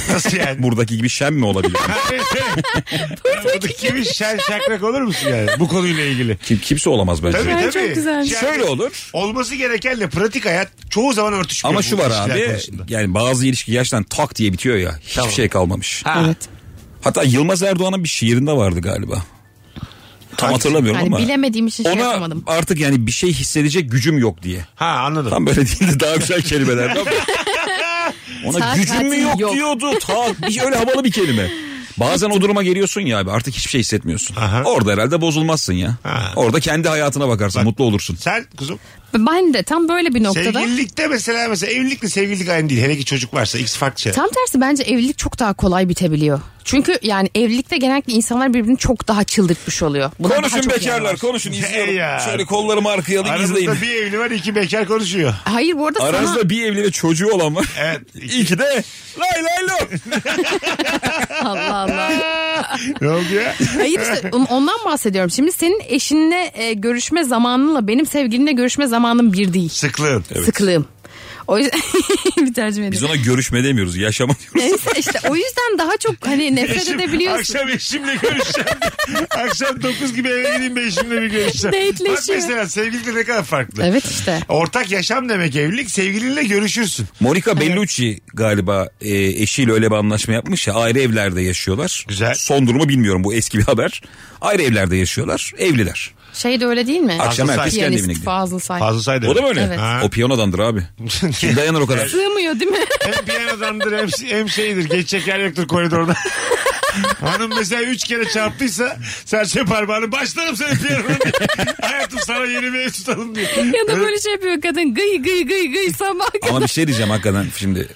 Speaker 2: ya? Nasıl yani?
Speaker 4: Buradaki gibi şen mi olabilir?
Speaker 2: Buradaki gibi şen
Speaker 4: şey.
Speaker 2: şakrak olur musun yani? Bu konuyla ilgili.
Speaker 4: Kim, kimse olamaz bence.
Speaker 2: Tabii tabii.
Speaker 3: çok güzelmiş.
Speaker 2: Yani
Speaker 4: Şöyle olur.
Speaker 2: Olması gerekenle pratik hayat çoğu zaman örtüşmüyor.
Speaker 4: Ama
Speaker 2: bu
Speaker 4: şu var
Speaker 2: ilişkiler
Speaker 4: abi
Speaker 2: konusunda.
Speaker 4: yani bazı ilişki yaştan tak diye bitiyor ya. Hiçbir şey kalmamış.
Speaker 3: Evet.
Speaker 4: Hatta Yılmaz Erdoğan'ın bir şiirinde vardı galiba. Tam
Speaker 2: Hangisi?
Speaker 4: hatırlamıyorum
Speaker 3: Yani
Speaker 4: ama.
Speaker 3: Hani bilemediğim için şey
Speaker 4: Ona
Speaker 3: yapamadım.
Speaker 4: artık yani bir şey hissedecek gücüm yok diye.
Speaker 2: Ha anladım.
Speaker 4: Tam böyle değildi daha güzel kelimeler. Ona
Speaker 3: Saat
Speaker 4: gücüm mü
Speaker 3: saati
Speaker 4: yok,
Speaker 3: yok.
Speaker 4: diyordu. Ta, bir, öyle havalı bir kelime. Bazen o duruma geliyorsun ya abi artık hiçbir şey hissetmiyorsun.
Speaker 2: Aha.
Speaker 4: Orada herhalde bozulmazsın ya.
Speaker 2: Ha.
Speaker 4: Orada kendi hayatına bakarsın mutlu olursun.
Speaker 2: Sen kuzum
Speaker 3: Ben de tam böyle bir noktada.
Speaker 2: sevgililikte mesela mesela evlilikle sevgililik aynı değil. Hele ki çocuk varsa ikisi farklı şey.
Speaker 3: Tam tersi bence evlilik çok daha kolay bitebiliyor. Çünkü yani evlilikte genellikle insanlar birbirini çok daha çıldırtmış oluyor. Buna daha
Speaker 4: konuşun
Speaker 3: çok
Speaker 4: bekarlar
Speaker 3: yarar.
Speaker 4: konuşun izliyorum.
Speaker 2: Hey ya.
Speaker 4: Şöyle kollarımı arkaya alın izleyin.
Speaker 2: Aramızda bir evli var iki bekar konuşuyor.
Speaker 3: Hayır bu arada
Speaker 4: Aranızda
Speaker 3: sana...
Speaker 4: bir evli ve çocuğu olan var.
Speaker 2: Evet.
Speaker 4: İyi ki de lay lay lay.
Speaker 3: Allah Allah.
Speaker 2: ne oldu ya?
Speaker 3: Hayır işte on- ondan bahsediyorum. Şimdi senin eşinle e, görüşme zamanınla benim sevgilimle görüşme zamanım bir değil.
Speaker 2: Sıklığın.
Speaker 3: Sıklığım. O yüzden bir tercüme
Speaker 4: Biz
Speaker 3: edeyim.
Speaker 4: ona görüşme demiyoruz yaşama diyoruz.
Speaker 3: Neyse işte o yüzden daha çok hani nefret
Speaker 2: Eşim-
Speaker 3: edebiliyorsun.
Speaker 2: Akşam eşimle görüşeceğim. akşam 9 gibi eve gideyim de eşimle bir görüşeceğim.
Speaker 3: Dateleşiyor.
Speaker 2: Bak mesela sevgililik ne kadar farklı.
Speaker 3: Evet işte.
Speaker 2: Ortak yaşam demek evlilik sevgilinle görüşürsün.
Speaker 4: Monica Bellucci galiba e, eşiyle öyle bir anlaşma yapmış ya ayrı evlerde yaşıyorlar.
Speaker 2: Güzel.
Speaker 4: Son durumu bilmiyorum bu eski bir haber. Ayrı evlerde yaşıyorlar evliler.
Speaker 3: Şey de öyle değil mi?
Speaker 4: Akşam
Speaker 2: Fazıl
Speaker 4: herkes
Speaker 2: Say.
Speaker 4: kendi evine
Speaker 3: Piyanist
Speaker 4: gidiyor.
Speaker 3: Fazıl Say.
Speaker 2: Fazla saydı.
Speaker 4: O da böyle.
Speaker 3: Evet.
Speaker 2: Ha.
Speaker 4: O piyanodandır abi. Kim dayanır o kadar?
Speaker 3: Sığmıyor değil mi?
Speaker 2: hem piyanodandır hem, hem şeydir. Geçecek yer yoktur koridorda. Hanım mesela üç kere çarptıysa serçe parmağını başlarım seni piyanonun diye. Hayatım sana yeni bir ev tutalım diye.
Speaker 3: ya da böyle şey yapıyor kadın gıy gıy gıy gıy sabah kadar.
Speaker 4: Ama bir şey diyeceğim hakikaten şimdi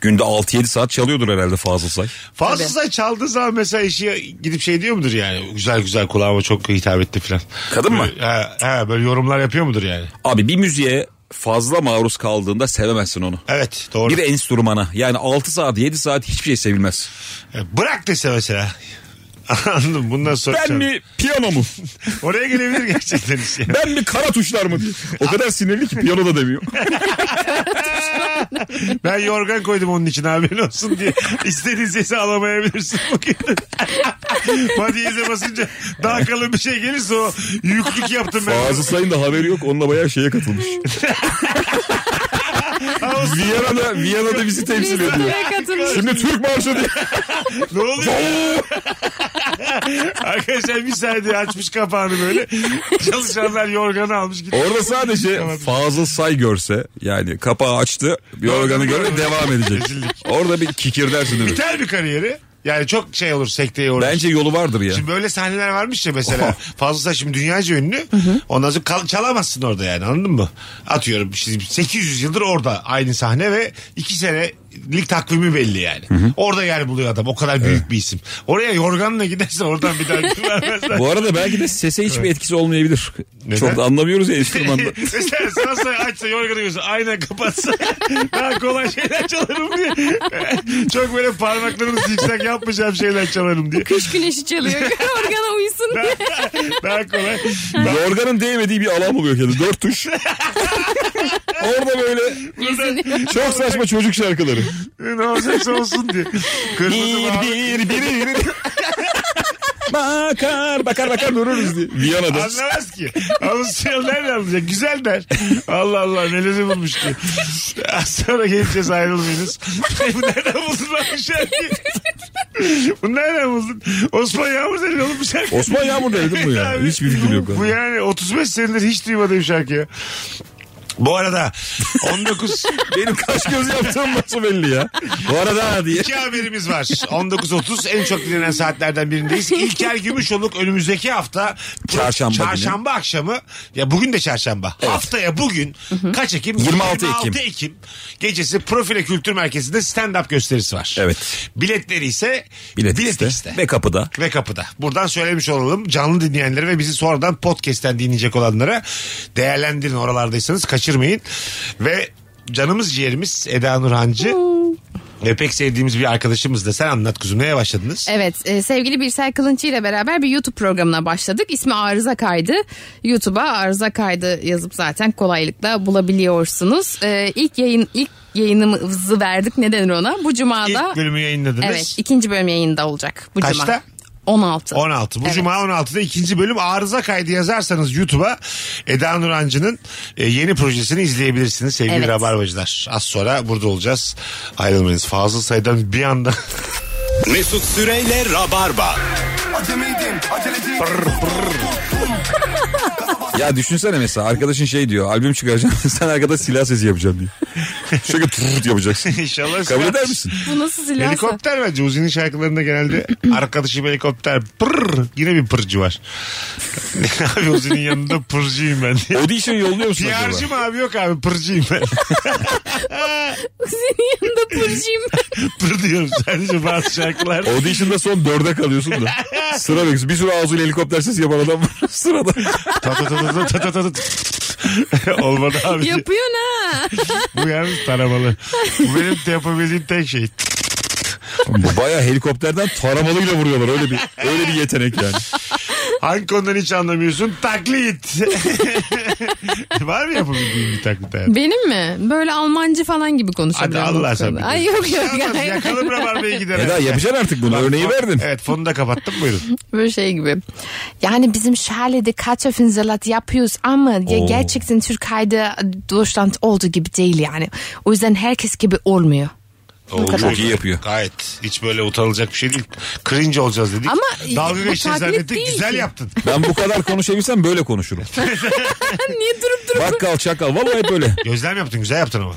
Speaker 4: günde 6-7 saat çalıyordur herhalde Fazıl Say.
Speaker 2: Fazla
Speaker 3: Tabii.
Speaker 2: say çaldığı zaman mesela işi gidip şey diyor mudur yani? Güzel güzel kulağıma çok hitap etti falan.
Speaker 4: Kadın mı?
Speaker 2: Böyle, ha, ha, böyle yorumlar yapıyor mudur yani?
Speaker 4: Abi bir müziğe fazla maruz kaldığında sevemezsin onu.
Speaker 2: Evet doğru.
Speaker 4: Bir enstrümana yani 6 saat 7 saat hiçbir şey sevilmez.
Speaker 2: Ya E, Bırak dese mesela. Anladım bundan sonra.
Speaker 4: Ben mi piyano mu?
Speaker 2: Oraya gelebilir gerçekten iş ya.
Speaker 4: Ben mi kara tuşlar mı? diye. O kadar sinirli ki piyano da demiyor.
Speaker 2: Ben yorgan koydum onun için haberin olsun diye. İstediğin sesi alamayabilirsin bugün. Madiyeze basınca daha kalın bir şey gelirse o yüklük yaptım ben.
Speaker 4: Fazıl Say'ın da haberi yok. Onunla bayağı şeye katılmış. Viyana'da, Viyana'da bizi temsil ediyor.
Speaker 3: Restorana katılmış.
Speaker 4: Şimdi Türk marşı diye.
Speaker 2: Ne oluyor? Arkadaşlar bir saniye açmış kapağını böyle. Çalışanlar yorganı almış gitmiş.
Speaker 4: Orada sadece Fazıl Say görse yani kapağı açtı yorganı görse devam edecek. Orada bir kikir dersin değil mi?
Speaker 2: Biter bir kariyeri. Yani çok şey olur sekteye uğrar.
Speaker 4: Bence yolu vardır ya.
Speaker 2: Şimdi böyle sahneler varmış ya mesela. Fazla Say şimdi dünyaca ünlü. Ondan sonra kal- çalamazsın orada yani anladın mı? Atıyorum şimdi 800 yıldır orada aynı sahne ve 2 senelik takvimi belli yani. Orada yer buluyor adam. O kadar büyük bir isim. Oraya yorganla gidersen oradan bir daha ödül vermezler.
Speaker 4: Bu arada belki de sese hiçbir etkisi olmayabilir.
Speaker 2: Neden?
Speaker 4: Çok da anlamıyoruz ya enstrümanda.
Speaker 2: Mesela sana say açsa yorganı görse ayna kapatsa daha kolay şeyler çalarım diye. Çok böyle parmaklarımı zikzak yapmayacağım şeyler çalarım diye.
Speaker 3: Kış güneşi çalıyor. Organa uyusun diye.
Speaker 2: daha kolay.
Speaker 4: Yorganın değmediği bir alan buluyor kendini. Dört tuş. Orada böyle çok saçma çocuk şarkıları.
Speaker 2: ne olacaksa olsun diye. Kırmızı mavi.
Speaker 4: bir bir bir. Bakar bakar bakar dururuz diye. Viyana'da.
Speaker 2: Anlamaz ki. Avusturyalılar ne anlayacak? Güzel der. Allah Allah neleri bulmuş ki. Az Sonra geleceğiz ayrılmayınız. Bu nereden buldun lan bu şarkıyı? Bu nereden buldun? Osman Yağmur dedi oğlum bu şarkı.
Speaker 4: Osman Yağmur dedi mi ya?
Speaker 2: Abi,
Speaker 4: Hiçbir fikrim yok.
Speaker 2: Bu yani 35 senedir hiç duymadığım şarkı ya. Bu arada 19
Speaker 4: Benim kaş göz yaptığım nasıl belli ya. Bu arada diye.
Speaker 2: İki haberimiz var. 19.30 en çok dinlenen saatlerden birindeyiz. İlker Gümüşoluk önümüzdeki hafta
Speaker 4: Çarşamba günü.
Speaker 2: çarşamba akşamı ya bugün de çarşamba. Haftaya bugün kaç Ekim?
Speaker 4: 26
Speaker 2: Ekim.
Speaker 4: Ekim.
Speaker 2: gecesi Profile Kültür Merkezi'nde stand-up gösterisi var.
Speaker 4: Evet.
Speaker 2: Biletleri ise
Speaker 4: Bilet,
Speaker 2: Bilet,
Speaker 4: iste.
Speaker 2: X'te
Speaker 4: Ve kapıda.
Speaker 2: ve kapıda. Buradan söylemiş olalım canlı dinleyenlere ve bizi sonradan podcast'ten dinleyecek olanlara değerlendirin oralardaysanız kaçırmayın. Ve canımız ciğerimiz Eda Nurhancı ve pek sevdiğimiz bir arkadaşımız da sen anlat kuzum neye başladınız?
Speaker 3: Evet e, sevgili Birsel Kılınçı ile beraber bir YouTube programına başladık. İsmi Arıza Kaydı. YouTube'a Arıza Kaydı yazıp zaten kolaylıkla bulabiliyorsunuz. E, ilk yayın ilk yayınımızı verdik. Ne denir ona? Bu cumada.
Speaker 2: İlk bölümü yayınladınız.
Speaker 3: Evet ikinci bölüm yayında olacak bu
Speaker 2: Kaçta?
Speaker 3: cuma. 16.
Speaker 2: 16. Bu
Speaker 3: Evet.
Speaker 2: cuma 16'da ikinci bölüm arıza kaydı yazarsanız YouTube'a Eda Nurancı'nın e, yeni projesini izleyebilirsiniz sevgili
Speaker 3: Evet.
Speaker 2: Rabarbacılar. Az sonra burada olacağız. Ayrılmayınız. Fazıl Say'dan bir anda
Speaker 1: Mesut Süreyle Rabarba.
Speaker 4: Ya düşünsene mesela arkadaşın şey diyor albüm çıkaracağım sen arkada silah sesi yapacaksın diyor. Şöyle tut yapacaksın.
Speaker 2: inşallah
Speaker 4: Kabul eder misin?
Speaker 3: Bu nasıl silahsa?
Speaker 2: Helikopter bence Uzi'nin şarkılarında genelde arkadaşım helikopter pırr yine bir pırcı var. abi Uzi'nin yanında pırcıyım ben diye.
Speaker 4: Audition yolluyor musun
Speaker 2: PR'cı
Speaker 4: acaba?
Speaker 2: mı abi yok abi pırcıyım ben.
Speaker 3: Senin yanında pırcıyım.
Speaker 2: Pır diyorum sadece bazı şarkılar.
Speaker 4: Audition'da son dörde kalıyorsun da. Sıra bekliyorsun. Bir sürü ağzıyla helikopter sesi yapan adam var sırada.
Speaker 2: Ta ta ta ta ta ta ta ta ta. Olmadı abi.
Speaker 3: Yapıyorsun ha.
Speaker 2: Bu yalnız taramalı. Bu benim de yapabildiğim tek şey.
Speaker 4: Baya helikopterden taramalıyla vuruyorlar öyle bir öyle bir yetenek yani.
Speaker 2: Hangi konudan hiç anlamıyorsun? Taklit. Var mı yapabildiğin bir taklit hayatım?
Speaker 3: Benim mi? Böyle Almancı falan gibi
Speaker 2: Hadi
Speaker 3: konuşabiliyorum.
Speaker 2: Allah sen bilir.
Speaker 3: Ay yok yok.
Speaker 2: Yalnız
Speaker 3: hayır.
Speaker 2: Yakalım Rabarba'ya gider.
Speaker 4: Eda yapacaksın artık bunu örneği verdin.
Speaker 2: Evet fonu da kapattım buyurun.
Speaker 3: Böyle şey gibi. Yani bizim Şale'de Kartoffelsalat yapıyoruz ama ya
Speaker 4: Oo.
Speaker 3: gerçekten Türkiye'de Deutschland olduğu gibi değil yani. O yüzden herkes gibi olmuyor.
Speaker 2: Oo,
Speaker 4: kadar. Çok iyi yapıyor.
Speaker 2: Gayet. Hiç böyle utanılacak bir şey değil. Cringe olacağız dedik.
Speaker 3: Ama
Speaker 2: Dalga
Speaker 3: bu
Speaker 2: geçeceğiz
Speaker 3: taklit
Speaker 2: zannettik.
Speaker 3: değil
Speaker 2: Güzel
Speaker 3: ki.
Speaker 2: yaptın.
Speaker 4: Ben bu kadar konuşabilsem böyle konuşurum.
Speaker 3: Niye durup durup?
Speaker 4: Bakkal çakal vallahi hep böyle.
Speaker 2: Gözlem yaptın. Güzel yaptın ama.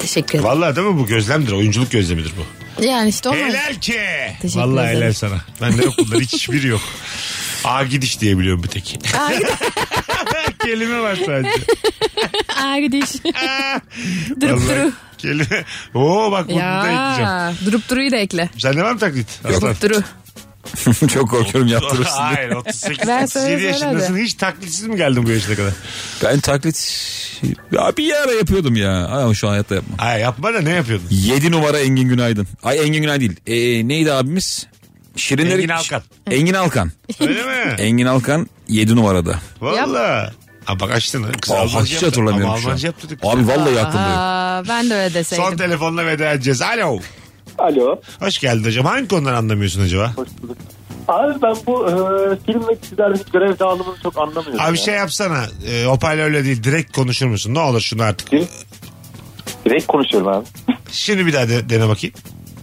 Speaker 3: Teşekkür ederim.
Speaker 2: Vallahi değil mi bu gözlemdir. Oyunculuk gözlemidir bu.
Speaker 3: Yani işte olmaz.
Speaker 2: Helal ki.
Speaker 3: Teşekkür
Speaker 2: Vallahi
Speaker 3: ederim.
Speaker 2: helal sana. Bende yok bunlar. Hiçbiri yok. A gidiş diye biliyorum bir tek. Kelime var sadece.
Speaker 3: Aa gidiş. durup
Speaker 2: Ah. Vallahi
Speaker 3: duru.
Speaker 2: Kelime. Oo bak bunu da ekleyeceğim.
Speaker 3: Ya durup duruyu da ekle.
Speaker 2: Sende var mı taklit? Aslan?
Speaker 3: Durup duru.
Speaker 4: Çok korkuyorum yaptırırsın diye.
Speaker 2: Hayır 38
Speaker 3: Ver,
Speaker 2: 37
Speaker 3: söyle,
Speaker 2: yaşındasın. Hiç taklitsiz mi geldin bu yaşına kadar?
Speaker 4: Ben taklit ya bir ara yapıyordum ya ama şu an hayatta yapmam.
Speaker 2: Hayır yapma da ne yapıyordun?
Speaker 4: 7 numara Engin Günaydın. Ay Engin Günay değil. Ee, neydi abimiz? Şirinleri...
Speaker 2: Engin Alkan.
Speaker 4: Engin Alkan.
Speaker 2: Öyle mi?
Speaker 4: Engin Alkan 7 numarada.
Speaker 2: Valla. Ha bak açtın. ha. Kız
Speaker 4: Aa,
Speaker 2: Almanca
Speaker 4: hiç
Speaker 2: yaptı.
Speaker 4: şey hatırlamıyorum
Speaker 2: Ama
Speaker 4: şu an.
Speaker 2: Almanca yaptı. Kız.
Speaker 4: Abi vallahi aklımda yok.
Speaker 3: Aa, ben de öyle deseydim.
Speaker 2: Son telefonla veda edeceğiz. Alo.
Speaker 8: Alo.
Speaker 2: Hoş geldin hocam. Hangi konudan anlamıyorsun acaba?
Speaker 8: Hoş bulduk. Abi ben bu e, film ve dizilerdeki görev dağılımını çok anlamıyorum.
Speaker 2: Abi
Speaker 8: ya.
Speaker 2: şey yapsana. E, hoparlör öyle değil. Direkt konuşur musun? Ne olur şunu artık.
Speaker 8: Direkt konuşuyorum abi.
Speaker 2: Şimdi bir daha de- dene bakayım.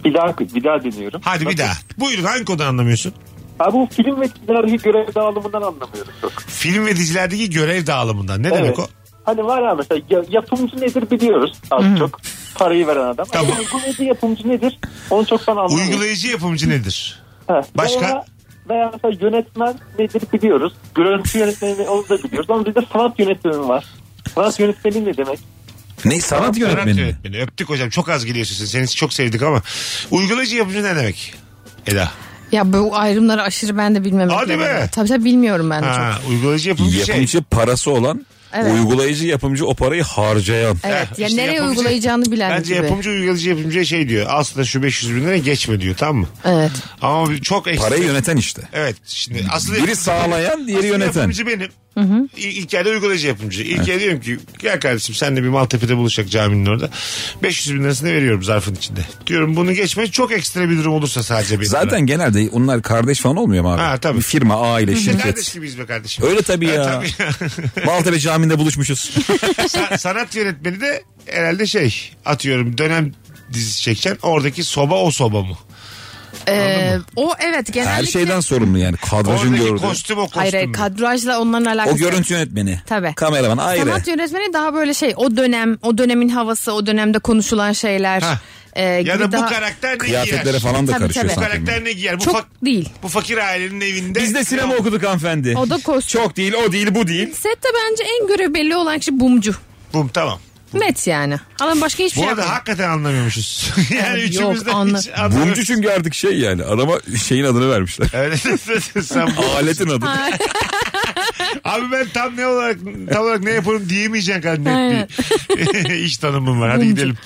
Speaker 8: Bir daha, bir daha deniyorum.
Speaker 2: Hadi bir daha. Buyurun hangi konudan anlamıyorsun?
Speaker 8: Abi bu film ve dizilerdeki görev dağılımından anlamıyorum çok.
Speaker 2: Film ve dizilerdeki görev dağılımından. Ne demek o?
Speaker 8: Hani var ya mesela ya- yapımcı nedir biliyoruz az çok. parayı veren adam.
Speaker 2: Tamam.
Speaker 8: Ama uygulayıcı yapımcı nedir? Onu çok ben anlamıyorum.
Speaker 2: Uygulayıcı yapımcı nedir?
Speaker 8: Ha,
Speaker 2: Başka?
Speaker 8: Veya, veya mesela yönetmen nedir biliyoruz. Görüntü yönetmeni ne- onu da biliyoruz. Ama bizde sanat yönetmeni var. Sanat yönetmeni ne demek?
Speaker 4: Ne sanat yönetmeni
Speaker 2: Sanat
Speaker 4: mi?
Speaker 2: yönetmeni. Öptük hocam çok az geliyorsun sen. Seni çok sevdik ama. Uygulayıcı yapımcı ne demek? Eda.
Speaker 3: Ya bu ayrımları aşırı ben de bilmem.
Speaker 2: Hadi
Speaker 3: Tabii
Speaker 2: be.
Speaker 3: tabii bilmiyorum ben de çok.
Speaker 2: Ha, uygulayıcı yapımcı, şey.
Speaker 4: Yapımcı parası olan
Speaker 3: Evet.
Speaker 4: uygulayıcı yapımcı o parayı harcayan.
Speaker 3: Evet.
Speaker 2: Heh,
Speaker 3: ya
Speaker 2: işte
Speaker 3: nereye
Speaker 2: yapımcı-
Speaker 3: uygulayacağını bilen
Speaker 2: Bence
Speaker 3: gibi.
Speaker 2: yapımcı uygulayıcı yapımcıya şey diyor. Aslında şu 500 bin lira geçme diyor tamam mı?
Speaker 3: Evet.
Speaker 2: Ama bir- çok ekstra.
Speaker 4: Parayı yöneten işte.
Speaker 2: Evet. Şimdi aslında
Speaker 4: Biri sağlayan diğeri
Speaker 2: aslında
Speaker 4: yöneten.
Speaker 2: yapımcı benim. İl- İlk yerde uygulayıcı yapımcı. İlk yerde diyorum ki gel kardeşim sen de bir Maltepe'de buluşacak caminin orada. 500 bin lirasını veriyorum zarfın içinde. Diyorum bunu geçme çok ekstra bir durum olursa sadece benim.
Speaker 4: Zaten genelde onlar kardeş falan olmuyor mu abi?
Speaker 2: Ha, tabii.
Speaker 4: Bir firma, aile,
Speaker 2: Biz kardeş
Speaker 4: şirket.
Speaker 2: gibiyiz be kardeşim.
Speaker 4: Öyle tabii
Speaker 2: Ha,
Speaker 4: ya.
Speaker 2: tabii.
Speaker 4: Maltepe Camii'nde buluşmuşuz.
Speaker 2: Sa- sanat yönetmeni de herhalde şey atıyorum dönem dizisi çekeceksin oradaki soba o soba mı?
Speaker 3: Ee, o evet genellikle.
Speaker 4: Her şeyden sorumlu yani. Kadrajın
Speaker 2: Oradaki
Speaker 4: gördü.
Speaker 2: kostüm o kostüm.
Speaker 3: Hayır hayır,
Speaker 2: mü?
Speaker 3: kadrajla onların alakası.
Speaker 4: O
Speaker 3: yok.
Speaker 4: görüntü yönetmeni.
Speaker 3: Tabii.
Speaker 4: Kameraman ayrı.
Speaker 3: Sanat yönetmeni daha böyle şey o dönem o dönemin havası o dönemde konuşulan şeyler.
Speaker 2: Ha.
Speaker 3: e,
Speaker 2: ya
Speaker 3: gibi
Speaker 2: da bu
Speaker 3: daha-
Speaker 2: karakter ne
Speaker 4: Kıyafetlere
Speaker 2: giyer?
Speaker 4: falan da
Speaker 3: Tabii,
Speaker 4: karışıyor
Speaker 3: tabii.
Speaker 2: Bu
Speaker 4: sanat
Speaker 2: karakter
Speaker 4: yönetmeni.
Speaker 2: ne giyer? Bu,
Speaker 3: Çok
Speaker 2: fak-
Speaker 3: değil.
Speaker 2: bu fakir ailenin evinde.
Speaker 4: Biz de sinema okuduk hanımefendi.
Speaker 3: O da kostüm.
Speaker 4: Çok değil o değil bu değil.
Speaker 3: Sette bence en görev belli olan kişi bumcu.
Speaker 2: Bum tamam.
Speaker 3: Net yani. Adam başka hiçbir
Speaker 2: Bu
Speaker 3: şey
Speaker 2: arada
Speaker 3: yapmıyor.
Speaker 2: hakikaten anlamıyormuşuz. yani
Speaker 3: Yok,
Speaker 2: üçümüz de
Speaker 3: anla-
Speaker 2: hiç anlamıyoruz.
Speaker 4: Bumcu çünkü artık şey yani adama şeyin adını vermişler.
Speaker 2: Evet, sen bu-
Speaker 4: Aletin adı.
Speaker 2: Abi ben tam ne olarak tam olarak ne yaparım diyemeyeceksin kadar net bir iş tanımım var. Hadi gidelim.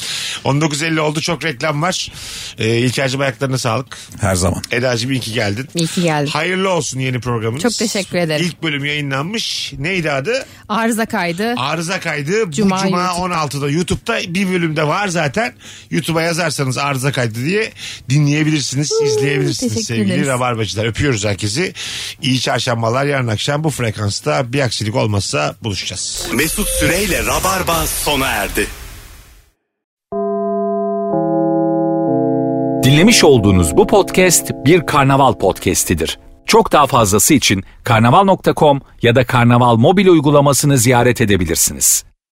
Speaker 2: 19.50 oldu çok reklam var. Ee, İlker'cim ayaklarına sağlık.
Speaker 4: Her zaman.
Speaker 2: Eda'cığım iyi ki geldin.
Speaker 3: İyi ki geldin.
Speaker 2: Hayırlı olsun yeni programınız.
Speaker 3: Çok teşekkür ederim.
Speaker 2: İlk bölüm yayınlanmış. Neydi adı?
Speaker 3: Arıza kaydı.
Speaker 2: Arıza kaydı.
Speaker 3: Cuma
Speaker 2: Bu Cuma
Speaker 3: YouTube'da.
Speaker 2: 16'da YouTube'da bir bölümde var zaten. YouTube'a yazarsanız arıza kaydı diye dinleyebilirsiniz, izleyebilirsiniz
Speaker 3: teşekkür
Speaker 2: sevgili
Speaker 3: ederiz.
Speaker 2: Rabarbacılar. Öpüyoruz herkesi. İyi çarşambalar. Yarın akşam bu frekansta bir aksilik olmazsa buluşacağız.
Speaker 1: Mesut Süreyle Rabarba sona erdi.
Speaker 9: Dinlemiş olduğunuz bu podcast bir karnaval podcastidir. Çok daha fazlası için karnaval.com ya da karnaval mobil uygulamasını ziyaret edebilirsiniz.